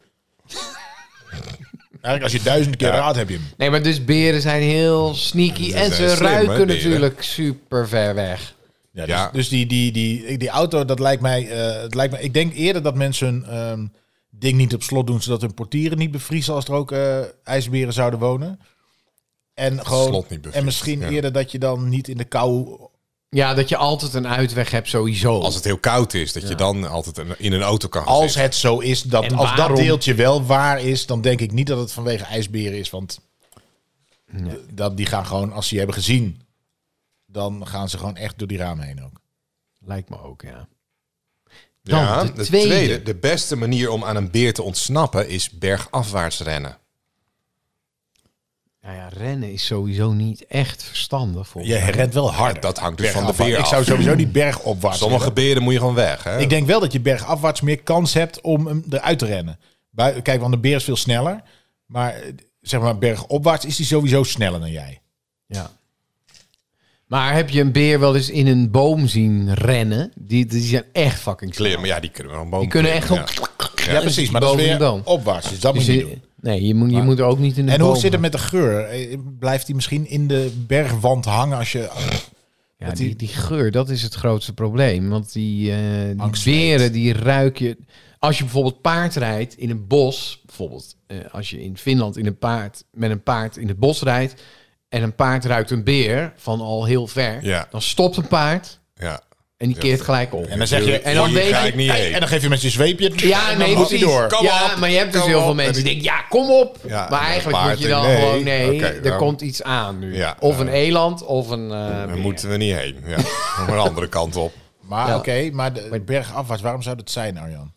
S3: Eigenlijk als je duizend keer raadt, heb je hem.
S5: Nee, maar dus beren zijn heel sneaky.
S2: zijn
S5: en ze
S2: slim, hè, beren?
S5: ruiken natuurlijk super ver weg.
S3: Ja, dus,
S2: Ja.
S3: dus die, die, die, die auto, dat lijkt mij, eh, het lijkt mij... Ik denk eerder dat mensen hun ehm, ding niet op slot doen... zodat hun portieren niet bevriezen als er ook eh, ijsberen zouden wonen. En, gewoon,
S2: slot niet bevriest,
S3: en misschien
S2: ja.
S3: eerder dat je dan niet in de kou
S5: Ja, dat je altijd een uitweg hebt sowieso.
S2: Als het heel koud is, dat je dan altijd een- in een auto kan gaan
S3: Als
S2: zitten.
S3: het zo is, dat,
S5: En
S3: als dat
S5: waarom-
S3: deeltje wel waar is, dan denk ik niet dat het vanwege ijsberen is. Want d- dat, die gaan gewoon, als ze je hebben gezien, dan gaan ze gewoon echt door die ramen heen ook.
S5: Lijkt me ook, ja. Dan
S2: Ja,
S5: de, tweede.
S2: De beste manier om aan een beer te ontsnappen is bergafwaarts rennen.
S5: Nou ja, rennen is sowieso niet echt verstandig. Volgens
S3: Je
S5: mij.
S3: rent wel hard.
S2: Dat hangt dus van de
S3: bergafwaarts.
S2: beer
S3: Ik
S2: af.
S3: zou sowieso niet bergopwaarts
S2: Sommige
S3: willen.
S2: beren moet je gewoon weg. Hè?
S3: Ik denk wel dat je bergafwaarts meer kans hebt om hem eruit te rennen. Bui- Kijk, want de beer is veel sneller. Maar eh, zeg maar, bergopwaarts is hij sowieso sneller dan jij.
S5: Ja. Maar heb je een beer wel eens in een boom zien rennen? Die, die zijn echt fucking snel.
S2: Klimmen, ja, die kunnen we wel
S5: Die kunnen echt
S2: ja.
S5: op...
S3: Ja, precies. Maar dat is
S5: boven
S3: weer
S5: de boom.
S3: opwaarts. Dus dat moet
S5: Dus
S3: je niet
S5: je,
S3: doen.
S5: nee, je moet, je moet ook niet in de
S3: En
S5: boom.
S3: hoe zit het met de geur? Eh, Blijft hij misschien in de bergwand hangen als je...
S5: Ja,
S3: Dat
S5: die,
S3: die-
S5: die geur, dat is het grootste probleem. Want die, eh die
S3: Angst
S5: beren, die ruik je... Als je bijvoorbeeld paard rijdt in een bos... Bijvoorbeeld eh, als je in Finland in een paard, met een paard in het bos rijdt... en een paard ruikt een beer van al heel ver...
S2: Ja.
S5: dan stopt een paard
S2: Ja.
S5: en die keert gelijk om.
S3: En dan zeg je...
S2: En
S3: En
S2: dan
S3: dan,
S5: weet
S2: ga
S5: je-
S2: ik niet heen.
S3: en dan geef je met je zweepje...
S5: Ja,
S3: en dan
S5: nee,
S3: loopt hij
S5: precies.
S3: door.
S2: Kom
S5: ja,
S2: op,
S5: maar je hebt dus
S2: kom
S5: heel
S2: op.
S5: veel
S2: En
S5: mensen die
S2: die-
S5: denken, ja, kom op.
S2: Ja, en
S5: maar
S2: een
S5: eigenlijk moet je
S2: paard,
S5: dan
S2: nee.
S5: gewoon, nee,
S2: Oké,
S5: er
S2: nou.
S5: komt iets aan nu.
S2: Ja,
S5: of
S2: eh,
S5: een eland, of een... eh,
S2: Daar
S5: beer.
S2: moeten we niet heen. Ja. Nog een andere kant op.
S3: Maar
S5: Ja.
S3: oké, maar de bergafwaarts, waarom zou dat zijn, Arjan?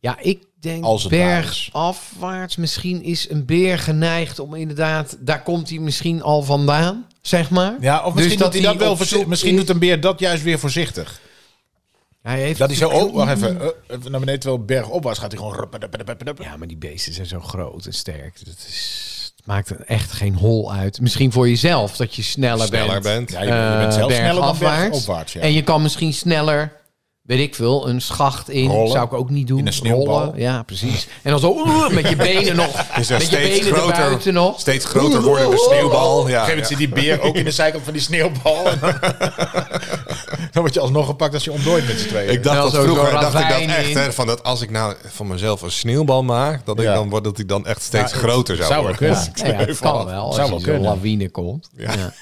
S5: Ja, ik denk
S3: Als het waar is.
S5: bergafwaarts. Misschien is een beer geneigd om inderdaad... Daar komt hij misschien al vandaan, zeg maar.
S3: Ja, of
S5: Dus
S3: misschien, doet, hij dat wel
S5: op
S3: voorzi-
S5: zoek
S3: misschien
S5: is-
S3: doet een beer dat juist weer voorzichtig.
S5: Hij heeft
S3: Dat is zo,
S5: natuurlijk
S3: oh, wacht even, eh, even naar beneden, terwijl bergopwaarts gaat hij gewoon... rup, rup, rup, rup, rup.
S5: heel- Ja, maar die beesten zijn zo groot en sterk. Dat is... Het maakt echt geen hol uit. Misschien voor jezelf, dat je sneller,
S2: Sneller
S5: bent.
S2: bent.
S3: Ja, je, bent- je bent
S5: Eh,
S3: zelf sneller dan
S5: bergafwaarts.
S3: bergopwaarts, ja.
S5: En je kan misschien sneller, weet ik veel, een schacht in.
S3: Rollen.
S5: Zou ik ook niet doen.
S3: In een sneeuwbal.
S5: Rollen, Ja, precies. En dan zo oeh, met je benen nog.
S2: Is er
S5: met je
S2: steeds
S5: benen
S2: groter-
S5: erbuiten nog.
S2: Steeds groter worden de sneeuwbal.
S3: Op
S2: Ja,
S3: een gegeven moment
S2: ja.
S3: zit die beer ook in de zijkant van die sneeuwbal. dan word je alsnog gepakt als je ontdooit met z'n tweeën.
S2: Ik dacht
S5: Wel
S2: dat
S5: zo
S2: vroeger,
S5: zo'n
S2: dacht ik dat
S5: ravijn
S2: echt,
S5: in.
S2: hè, van dat als ik nou van mezelf een sneeuwbal maak, dat ik
S3: Ja.
S2: dan word dat ik dan echt steeds groter zou,
S3: zou wel
S2: worden.
S3: kunnen.
S5: Ja, ja, het kan wel. Als
S3: Zou
S5: er
S3: wel
S5: zo'n
S3: kunnen.
S5: lawine komt. Ja.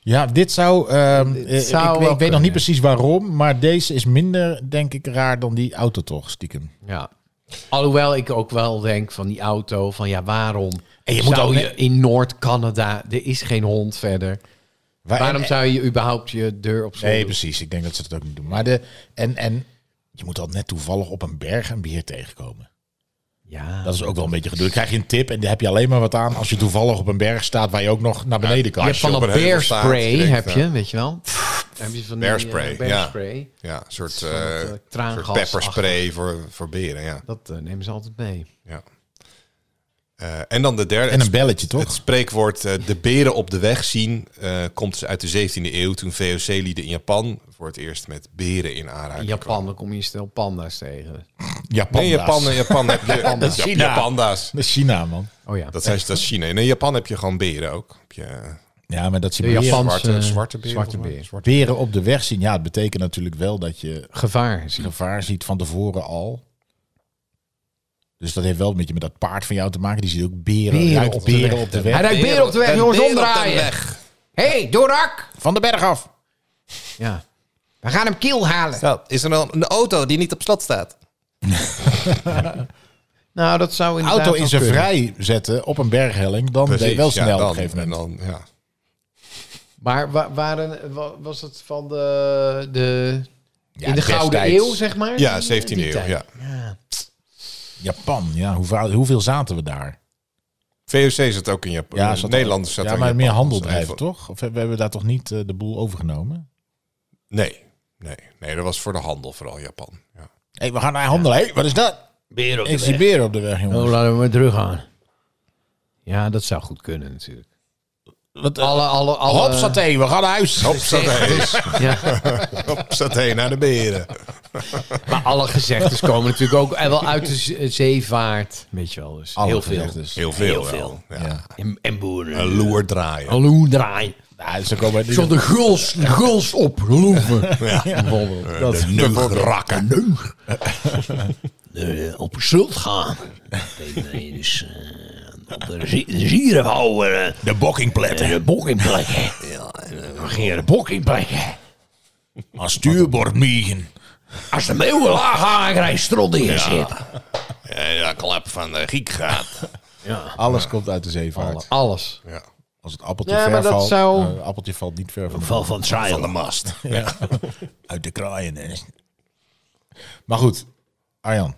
S3: Ja, dit zou... ehm, eh,
S5: zou
S3: ik weet, ik
S5: wel
S3: weet nog
S5: kunnen.
S3: niet precies waarom, maar deze is minder, denk ik, raar dan die auto toch, stiekem.
S5: Ja. Alhoewel ik ook wel denk van die auto, van ja, waarom
S3: En je moet
S5: zou
S3: ook
S5: je
S3: net-
S5: in Noord-Canada, er is geen hond verder.
S3: Waar-
S5: Waarom
S3: en-
S5: zou je überhaupt je deur op slot
S3: Nee,
S5: doen?
S3: precies. Ik denk dat ze dat ook niet doen. Maar de, en, en je moet al net toevallig op een berg een beer tegenkomen.
S5: Ja,
S3: Dat is ook wel een beetje gedoe. Dan krijg je een tip en daar heb je alleen maar wat aan als je toevallig op een berg staat waar je ook nog naar beneden
S5: je
S3: kan.
S5: hebt van
S2: op
S5: dat
S2: een heuvel staat,
S5: bearspray,
S2: direct,
S5: heb
S2: ja.
S5: je, weet je wel. Dan heb je van die,
S2: Bearspray,
S5: eh,
S2: ja.
S5: bearspray.
S2: Ja, een soort,
S5: Van dat, eh,
S2: eh soort
S5: traangas.
S2: pepperspray voor, voor beren, ja.
S5: Dat eh, nemen ze altijd mee.
S2: ja. Eh, en dan de derde.
S3: En een belletje,
S2: Het
S3: toch?
S2: spreekwoord eh, de beren op de weg zien eh, komt uit de 17e eeuw toen VOC-lieden in Japan voor het eerst met beren in
S5: In
S2: aanraking
S5: Japan, dan kom je stel panda's tegen.
S3: Japan.
S2: kwamen. Nee, Japan, in Japan heb je panda's.
S3: China.
S2: panda's.
S3: China, man.
S5: Oh ja,
S2: Dat, zijn, dat is China. En in Japan heb je gewoon beren ook. Heb je
S3: Ja, maar dat ze
S5: De
S3: beren,
S5: Japan-
S2: zwarte,
S5: eh,
S2: zwarte beren.
S5: zwarte
S2: volgens mij.
S5: beer.
S2: Zwarte-
S3: beren op de weg zien. Ja, het betekent natuurlijk wel dat je
S5: gevaar. zie je.
S3: gevaar ziet van tevoren al. Dus dat heeft wel een beetje met dat paard van jou te maken. Die ziet ook beren,
S5: Beren
S3: ruikt
S5: op de
S3: beren
S5: weg.
S3: op de
S5: Hij
S3: weg.
S5: rijdt beren op de weg,
S2: Een
S5: jongens,
S2: beer op de
S5: omdraaien.
S2: weg.
S5: Hé, hey, Dorak!
S3: Van de berg af.
S5: Ja. We gaan hem kiel halen.
S2: Nou, is er dan een auto die niet op slot staat?
S5: Nou, dat zou inderdaad
S3: Auto in
S5: wel
S3: zijn
S5: kunnen.
S3: vrij zetten op een berghelling. Dan ben je wel snel
S2: ja,
S3: op
S2: dan,
S3: een gegeven moment.
S2: en Dan, ja.
S5: Maar wa- waren, wa- was het van de, de
S3: Ja,
S5: in de Gouden
S3: destijds.
S5: Eeuw, zeg maar?
S2: ja,
S5: Die-
S2: 17e
S5: die
S2: eeuw.
S5: tijd.
S2: Ja.
S3: Japan, ja. Hoe vaal- hoeveel zaten we daar?
S2: VOC zat ook in Japan.
S3: Ja,
S2: Ja,
S3: zat
S2: Nederlanders zat
S3: ja,
S2: ook in
S3: maar meer
S2: Japan.
S3: handel
S2: Dus
S3: drijven,
S2: even-
S3: toch? Of we hebben daar toch niet eh, de boel overgenomen?
S2: Nee, nee, nee, dat was voor de handel vooral Japan. Ja.
S3: Hé, hey, we gaan naar handelen. Hé, wat is dat?
S5: Beer op
S3: Ik zie beren op de weg, jongens.
S5: Oh, laten we maar terug gaan. Ja, dat zou goed kunnen natuurlijk.
S3: Wat, eh,
S5: Alle, alle, alle...
S3: Hop, saté, we gaan naar huis.
S2: Hop, zat heen.
S5: Ja,
S2: Hop, zat heen naar de beren.
S5: maar alle gezegdes komen natuurlijk ook eh, wel uit de ze- zeevaart. Weet je wel, dus
S3: Alle
S5: heel veel.
S3: gezegdes.
S2: Heel veel.
S5: Heel
S2: wel.
S5: veel.
S2: Ja.
S3: Ja. Oh,
S5: En, en boeren.
S2: Een loer draaien.
S5: Hallo, draai.
S3: Ja, dus dan komen we-
S5: Zet de guls, de guls op, geloof me.
S2: Ja.
S5: Bijvoorbeeld.
S2: Dat de neug rakken.
S6: eh, op schuld gaan. Nee, dus eh, op de zi- de zieren houden. eh,
S3: De bokkingpletten.
S6: De bokkingplekken. Ja, eh, dan gingen de bokkingplekken.
S3: Als stuurbord miegen.
S6: Als de meeuwen laag hangen, krijg je strot in je zit.
S2: Ja, klap van de Griek gaat.
S3: Alles komt uit de zeevaart.
S5: Alles.
S2: Ja.
S3: Als het appeltje
S5: Ja, maar
S3: ver
S5: dat
S3: valt...
S5: zou-
S3: eh, appeltje valt niet ver van de-
S6: Val van het zeil.
S2: Van de mast.
S3: Uit de kraaien, hè. Maar goed, Arjan.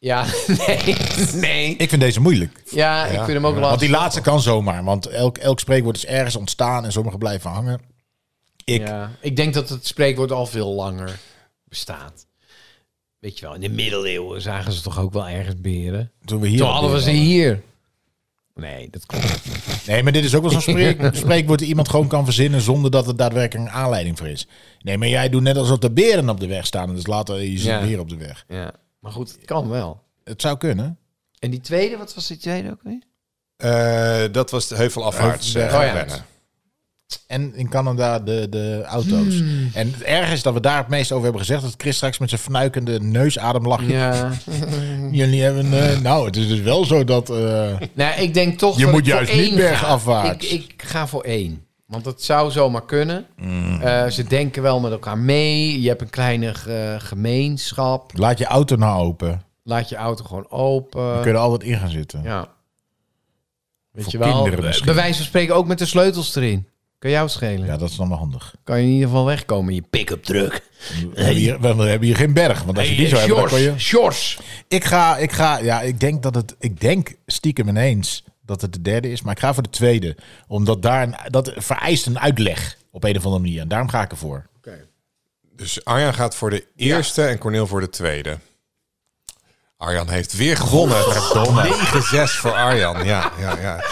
S5: Ja, nee, nee.
S3: Ik vind deze moeilijk.
S5: Ja, ik vind hem ook
S3: Want
S5: lastig.
S3: die laatste kan zomaar. Want elk, elk spreekwoord is ergens ontstaan en sommige blijven hangen. Ik,
S5: Ja, ik denk dat het spreekwoord al veel langer bestaat. Weet je wel, in de middeleeuwen zagen ze toch ook wel ergens beren?
S3: Toen we hier.
S5: Toen
S3: op
S5: hadden we ze
S3: weer
S5: hier. Nee, dat klopt. niet.
S3: waren. Nee, maar dit is ook wel zo'n spreek, spreekwoord die iemand gewoon kan verzinnen zonder dat er daadwerkelijk een aanleiding voor is. Nee, maar jij doet net alsof de beren op de weg staan. Dus later je zit
S5: Ja.
S3: hier op de weg.
S5: Ja. Maar goed, het kan wel.
S3: Het zou kunnen.
S5: En die tweede, wat was die tweede ook weer?
S2: Eh, dat was de heuvelafwaarts.
S3: Heuvel-
S2: eh,
S5: Oh ja.
S2: rennen.
S3: En in Canada de, de auto's.
S5: Hmm.
S3: En het erg is dat we daar het meest over hebben gezegd. Dat Chris straks met zijn fnuikende neusadem lacht.
S5: Ja.
S3: Jullie hebben... eh, nou, het is dus wel zo dat... eh,
S5: nou, ik denk toch
S3: Je
S5: dat
S3: moet
S5: ik voor
S3: juist niet
S5: één
S3: bergafwaarts.
S5: ga. Ik, ik ga voor één. Want dat zou zomaar kunnen.
S3: Mm.
S5: Eh, ze denken wel met elkaar mee. Je hebt een kleine eh, gemeenschap.
S3: laat je auto nou open.
S5: Laat je auto gewoon open.
S3: We kunnen altijd in gaan zitten.
S5: Ja. Weet
S3: Voor
S5: je wel,
S3: kinderen
S5: eh,
S3: misschien.
S5: bij wijze van spreken ook met de sleutels erin. Kan jou schelen.
S3: Ja, dat is dan wel handig.
S5: Kan je in ieder geval wegkomen in je pick-up truck.
S3: We, hebben hier, we hebben hier geen berg, want als je die zou hebben, dan kon je...
S5: Sjors.
S3: Ik ga, ik ga, ja, ik denk dat het, ik denk stiekem ineens dat het de derde is, maar ik ga voor de tweede. Omdat daar, een, dat vereist een uitleg op een of andere manier. En daarom ga ik ervoor.
S2: Dus Arjan gaat voor de eerste en Corneel voor de tweede. Arjan heeft weer gewonnen. 9-6 voor Arjan. Ja, ja, ja.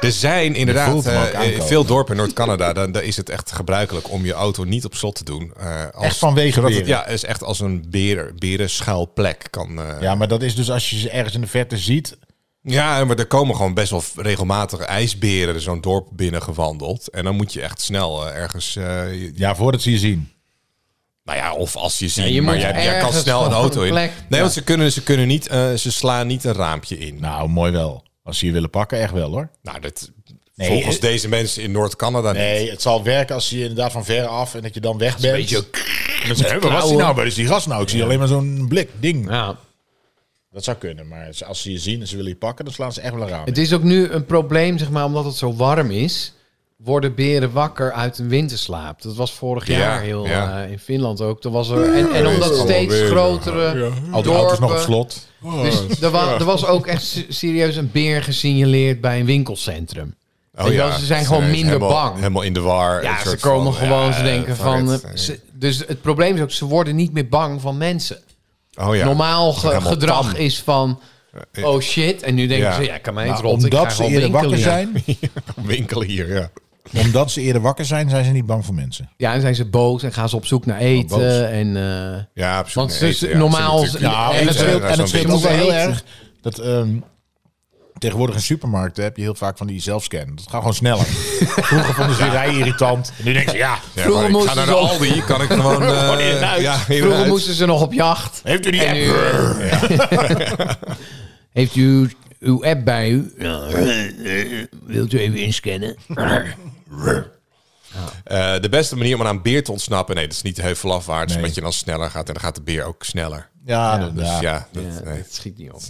S2: Er zijn
S3: voelt
S2: inderdaad
S3: hem ook
S2: eh, in
S3: aankomen.
S2: veel dorpen in Noord-Canada... Dan, dan is het echt gebruikelijk om je auto niet op slot te doen. eh, als,
S3: Echt vanwege
S2: zodat het,
S3: beren.
S2: Ja, is echt als een beren, berenschuilplek kan... eh, ja.
S3: Ja, maar dat is dus als je ze ergens in de verte ziet.
S2: maar er komen gewoon best wel regelmatig ijsberen... zo'n dorp binnen gewandeld. En dan moet je echt snel eh, ergens... eh, je-
S3: Ja, voordat ze je zien.
S2: Nou ja, of als je ziet,
S5: je
S2: maar
S5: moet
S2: jij, jij kan
S5: ergens
S2: snel een
S5: gewoon
S2: auto
S5: een
S2: in. Nee,
S5: plek- ja.
S2: want ze kunnen, ze kunnen niet, eh, ze slaan niet een raampje in. Nou,
S3: Nou, mooi wel. Als ze je willen pakken, echt wel hoor.
S2: dat
S3: Nee,
S2: volgens
S3: eh,
S2: deze mensen in Noord-Canada niet.
S3: Nee, het zal werken als ze je inderdaad van ver af en dat je dan weg bent.
S5: beetje-
S3: En dan zeg je, "Hé, waar was die nou? Waar is die gast nou? Ik zie alleen maar zo'n blik, ding.
S5: Ja.
S3: Dat zou kunnen, maar ze- als ze je zien en ze willen je pakken, dan slaan ze echt wel een raam.
S5: Het is ook nu een probleem, zeg maar, omdat het zo warm is. Worden beren wakker uit een winterslaap? Dat was vorig
S2: Ja,
S5: jaar heel
S2: ja.
S5: eh, in Finland ook. Er was er, en, en omdat
S2: allemaal
S5: steeds
S2: beren.
S5: grotere dorpen.
S2: Oh,
S3: Al die auto's nog op slot.
S5: Dus er, wa- er was ook echt se- serieus een beer gesignaleerd bij een winkelcentrum.
S3: Oh
S2: Oh
S5: Weet je wel, ze zijn gewoon
S2: ineens
S5: minder
S2: helemaal-
S5: bang.
S2: Helemaal in de war.
S5: Ja,
S2: een
S5: ze
S2: soort
S5: komen
S2: van,
S5: gewoon,
S2: ja,
S5: ze denken van...
S2: vanuit,
S5: eh,
S2: eh,
S5: ze- dus het probleem is ook, ze worden niet meer bang van mensen.
S2: oh ja.
S5: Normaal ge-
S2: helemaal
S5: gedrag
S2: tam. Eh,
S5: is van... Oh shit, en nu denken
S2: Ja.
S5: ze, ja, kan mij niet
S3: Maar
S5: rond. Ik ga
S3: omdat ze
S5: gewoon
S3: eerder
S5: winkelen.
S3: wakker
S5: hier.
S3: zijn,
S2: Winkelen hier, ja.
S3: omdat ze eerder wakker zijn, zijn ze niet bang voor mensen.
S5: Ja, en zijn ze boos en gaan ze op zoek naar eten.
S3: boos.
S5: en, eh,
S2: Ja, op zoek
S5: Want
S2: naar
S5: het is
S2: eten, ja,
S5: normaal-
S2: ze moeten
S5: Ja,
S2: natuurlijk-
S5: en
S3: en het scheelt,
S2: eten,
S5: het
S2: ja,
S3: en
S2: zo'n
S3: het scheelt
S2: beetje.
S3: ook wel heel
S5: eten.
S3: erg dat ehm, tegenwoordig in supermarkten heb je heel vaak van die zelfscan. Dat gaat gewoon sneller. Vroeger vonden ze die rijen irritant. En nu denken ze, ja,
S2: Ja,
S5: Vroeger
S2: maar ik ga
S5: moesten
S2: naar de
S5: ze al-
S2: Aldi, kan ik gewoon... eh,
S3: Gewoon in en uit.
S2: ja, in en
S5: vroeger
S2: uit.
S5: moesten ze nog op jacht.
S3: heeft u die
S5: En
S3: app?
S5: nu, eh, heeft u uw- uw app bij u? eh,
S6: Wilt u even inscannen?
S2: Eh, de beste manier om aan een beer te ontsnappen... Nee, dat is niet heel veel afwaarts,
S3: Nee.
S2: omdat je dan sneller gaat. En dan gaat de beer ook sneller.
S3: Ja, dat-
S2: Dus
S3: ja,
S2: ja, dat,
S5: Ja,
S2: nee.
S5: dat schiet niet op.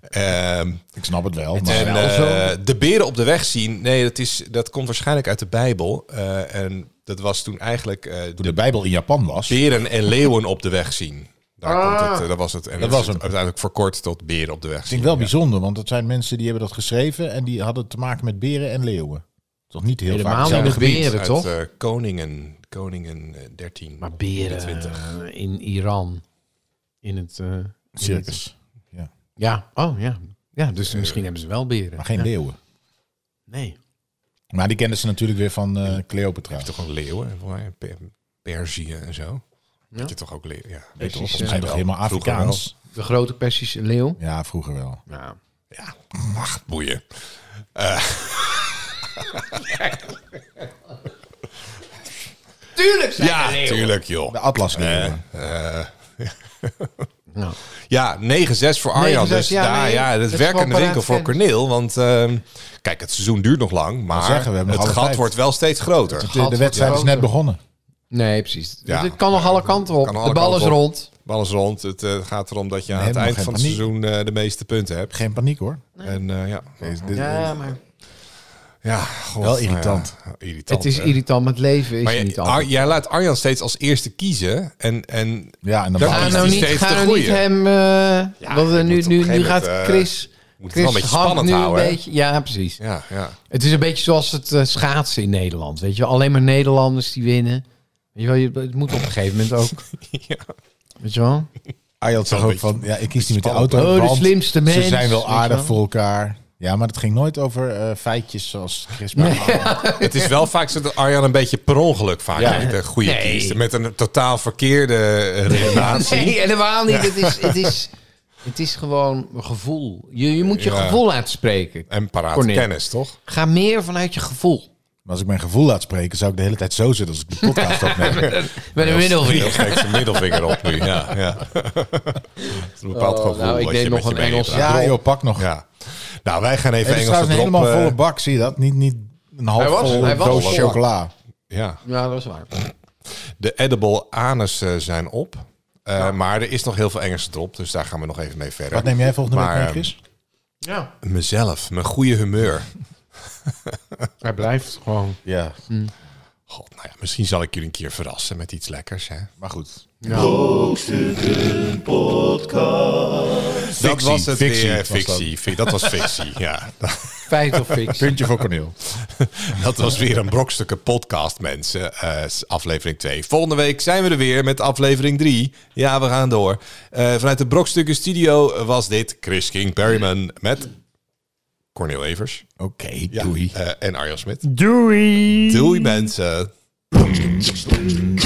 S2: Ehm,
S3: ik snap het wel.
S2: en
S3: Maar
S2: eh, de beren op de weg zien, nee, dat, is, dat komt waarschijnlijk uit de Bijbel. Eh, en dat was toen eigenlijk eh,
S3: toen de Bijbel in Japan was,
S2: beren en leeuwen op de weg zien. Daar komt het, eh, dat was het. En dat,
S3: was
S2: was het
S3: hem.
S2: uiteindelijk verkort tot beren op de weg
S3: vind
S2: zien.
S3: ik wel bijzonder. Want dat zijn mensen die hebben dat geschreven en die hadden te maken met beren en leeuwen. Toch niet heel
S5: Helemaal
S3: vaak hetzelfde
S5: niet met
S3: gebied.
S5: beren.
S2: Uit
S5: toch?
S2: eh, Koningen, Koningen eh, 13.
S5: Maar beren
S2: 20.
S5: eh, in Iran. In het... eh, in het-
S3: Circus.
S5: ja, oh ja. Ja,
S2: Eh,
S5: dus misschien hebben ze wel beren.
S3: Maar geen
S5: Ja.
S3: leeuwen.
S5: Nee.
S3: Maar die kenden ze natuurlijk weer van eh, Cleopatra.
S2: Toch gewoon leeuwen, en volgens mij Per- Perzië en zo. Dat je toch ook leeuwen, ja.
S3: Weet je,
S5: Precies,
S3: volgens mij
S5: eh,
S3: toch
S2: wel.
S3: helemaal
S2: Vroeger
S3: Afrikaans.
S5: De grote Persische leeuw.
S3: Ja, vroeger wel.
S5: Ja.
S2: Boeien. Eh.
S5: Tuurlijk zijn
S2: Ja,
S5: er leeuwen.
S2: tuurlijk joh.
S3: De Nou. Atlas.
S2: Eh,
S5: Nou.
S2: Ja, 9-6 voor Arjan.
S5: 9-6,
S2: dus
S5: ja,
S2: daar,
S5: nee,
S2: ja,
S5: dat
S2: dat
S5: is
S2: is werk
S5: gewoon
S2: aan de winkel voor
S5: paraatkennis.
S2: Corneel. Want ehm, kijk, het seizoen duurt nog lang, maar
S3: zeggen, we hebben nog alle
S2: het gat
S3: tijd.
S2: wordt wel steeds groter.
S3: de, de wedstrijd is net begonnen.
S5: Nee, precies. Dus
S2: Ja.
S5: Het kan nog alle kanten op.
S2: Kan alle
S5: de bal is
S2: kanten op.
S5: rond.
S2: Alles rond. Het eh, gaat erom dat je aan
S3: Nee,
S2: het
S3: maar
S2: eind
S3: geen
S2: van het
S3: paniek.
S2: seizoen eh, de meeste punten hebt.
S3: Geen paniek hoor.
S2: En eh, ja,
S3: Deze- dit-
S5: Ja, maar
S2: ja god,
S3: Wel
S2: nou ja,
S3: irritant.
S2: irritant
S5: het is
S2: hè.
S5: irritant, maar het leven is
S2: Maar je-
S5: niet
S2: Ar-
S5: anders.
S2: jij laat Arjan steeds als eerste kiezen. En, en
S3: Ja, en dan
S2: Daar
S5: Ga
S2: is
S5: nou
S2: die
S5: niet,
S2: steeds
S5: ga
S2: de
S5: nou niet
S2: goeie.
S5: hem... eh, want eh,
S2: je
S5: nu,
S2: moet op
S5: nu,
S2: een gegeven
S5: nu gaat
S2: moment, eh,
S5: Chris...
S2: moet het
S5: Chris
S2: wel een beetje
S5: hangt
S2: spannend
S5: nu
S2: houden,
S5: Een
S2: hè?
S5: beetje, ja, precies.
S2: ja, ja.
S5: Het is een beetje zoals het eh, schaatsen in Nederland. Weet je, wel. alleen maar Nederlanders die winnen. Weet je wel, je, het moet op een gegeven moment ook.
S2: Ja.
S5: Weet je wel?
S3: Ayat zag
S2: Wel
S3: ook
S2: een
S3: van, ja, ik kies niet met de
S2: spannend,
S3: auto.
S5: hè? Oh, de
S3: want
S5: slimste mens,
S3: Ze zijn
S5: weet
S3: wel
S5: je
S3: aardig
S5: wel.
S3: voor elkaar. Ja, maar het ging nooit over eh, feitjes zoals Chris maar
S2: Het is wel vaak zo dat Arjan een beetje per ongeluk vaak weet, de goede
S5: Nee.
S2: kiest. Met een totaal verkeerde eh, redenatie.
S5: Nee, helemaal niet. Het, is, het, is, het is gewoon gevoel. Je, je moet je
S2: Ja.
S5: gevoel laten spreken.
S2: En paraat
S5: Cornel.
S2: kennis, toch?
S5: Ga meer vanuit je gevoel.
S3: Maar als ik mijn gevoel laat spreken, zou ik de hele tijd zo zitten als ik de podcast opneem.
S5: Met een
S2: Heel
S5: middelvinger.
S2: steekt zijn middelvinger op nu. Ja, ja. Het is een bepaald
S5: Oh,
S2: gevoel.
S5: nou, ik
S2: wat
S5: deed
S2: je
S5: nog
S2: met je
S5: een
S2: mee
S5: Engelse
S2: draagt.
S3: ja, joh, pak nog.
S2: Ja. Nou, wij gaan even
S3: Het is
S2: Engelse drop.
S3: trouwens een helemaal
S2: eh,
S3: volle bak, zie je dat? Niet, niet een half
S5: Hij was-
S3: vol
S5: hij was
S3: doos
S5: vol.
S3: chocola.
S2: ja.
S5: Ja, dat is waar.
S2: De edible anus eh, zijn op. Eh, Maar er is nog heel veel Engelse drop, dus daar gaan we nog even mee verder.
S3: Wat neem jij volgende
S2: Maar,
S3: week mee,
S2: ehm,
S3: Chris?
S5: Ja.
S2: Mezelf, mijn goede humeur.
S1: Hij blijft gewoon.
S3: Ja,
S2: God, nou ja, misschien zal ik jullie een keer verrassen met iets lekkers. Hè?
S3: maar goed.
S2: Fictie, dat was het
S3: fictie
S2: weer,
S3: was dat.
S2: fictie, fi- dat was fictie, ja.
S5: Feit of fictie.
S3: Puntje voor Corneel.
S2: Dat was weer een brokstukken podcast, mensen. Eh, aflevering 2. Volgende week zijn we er weer met aflevering 3. Ja, we gaan door. Eh, vanuit de brokstukken studio was dit Chris King Perryman met Cornel Evers.
S3: Oké,
S2: Ja,
S3: doei.
S2: eh, en Arjan Smit.
S4: Doei.
S2: Doei mensen.
S7: Thank you.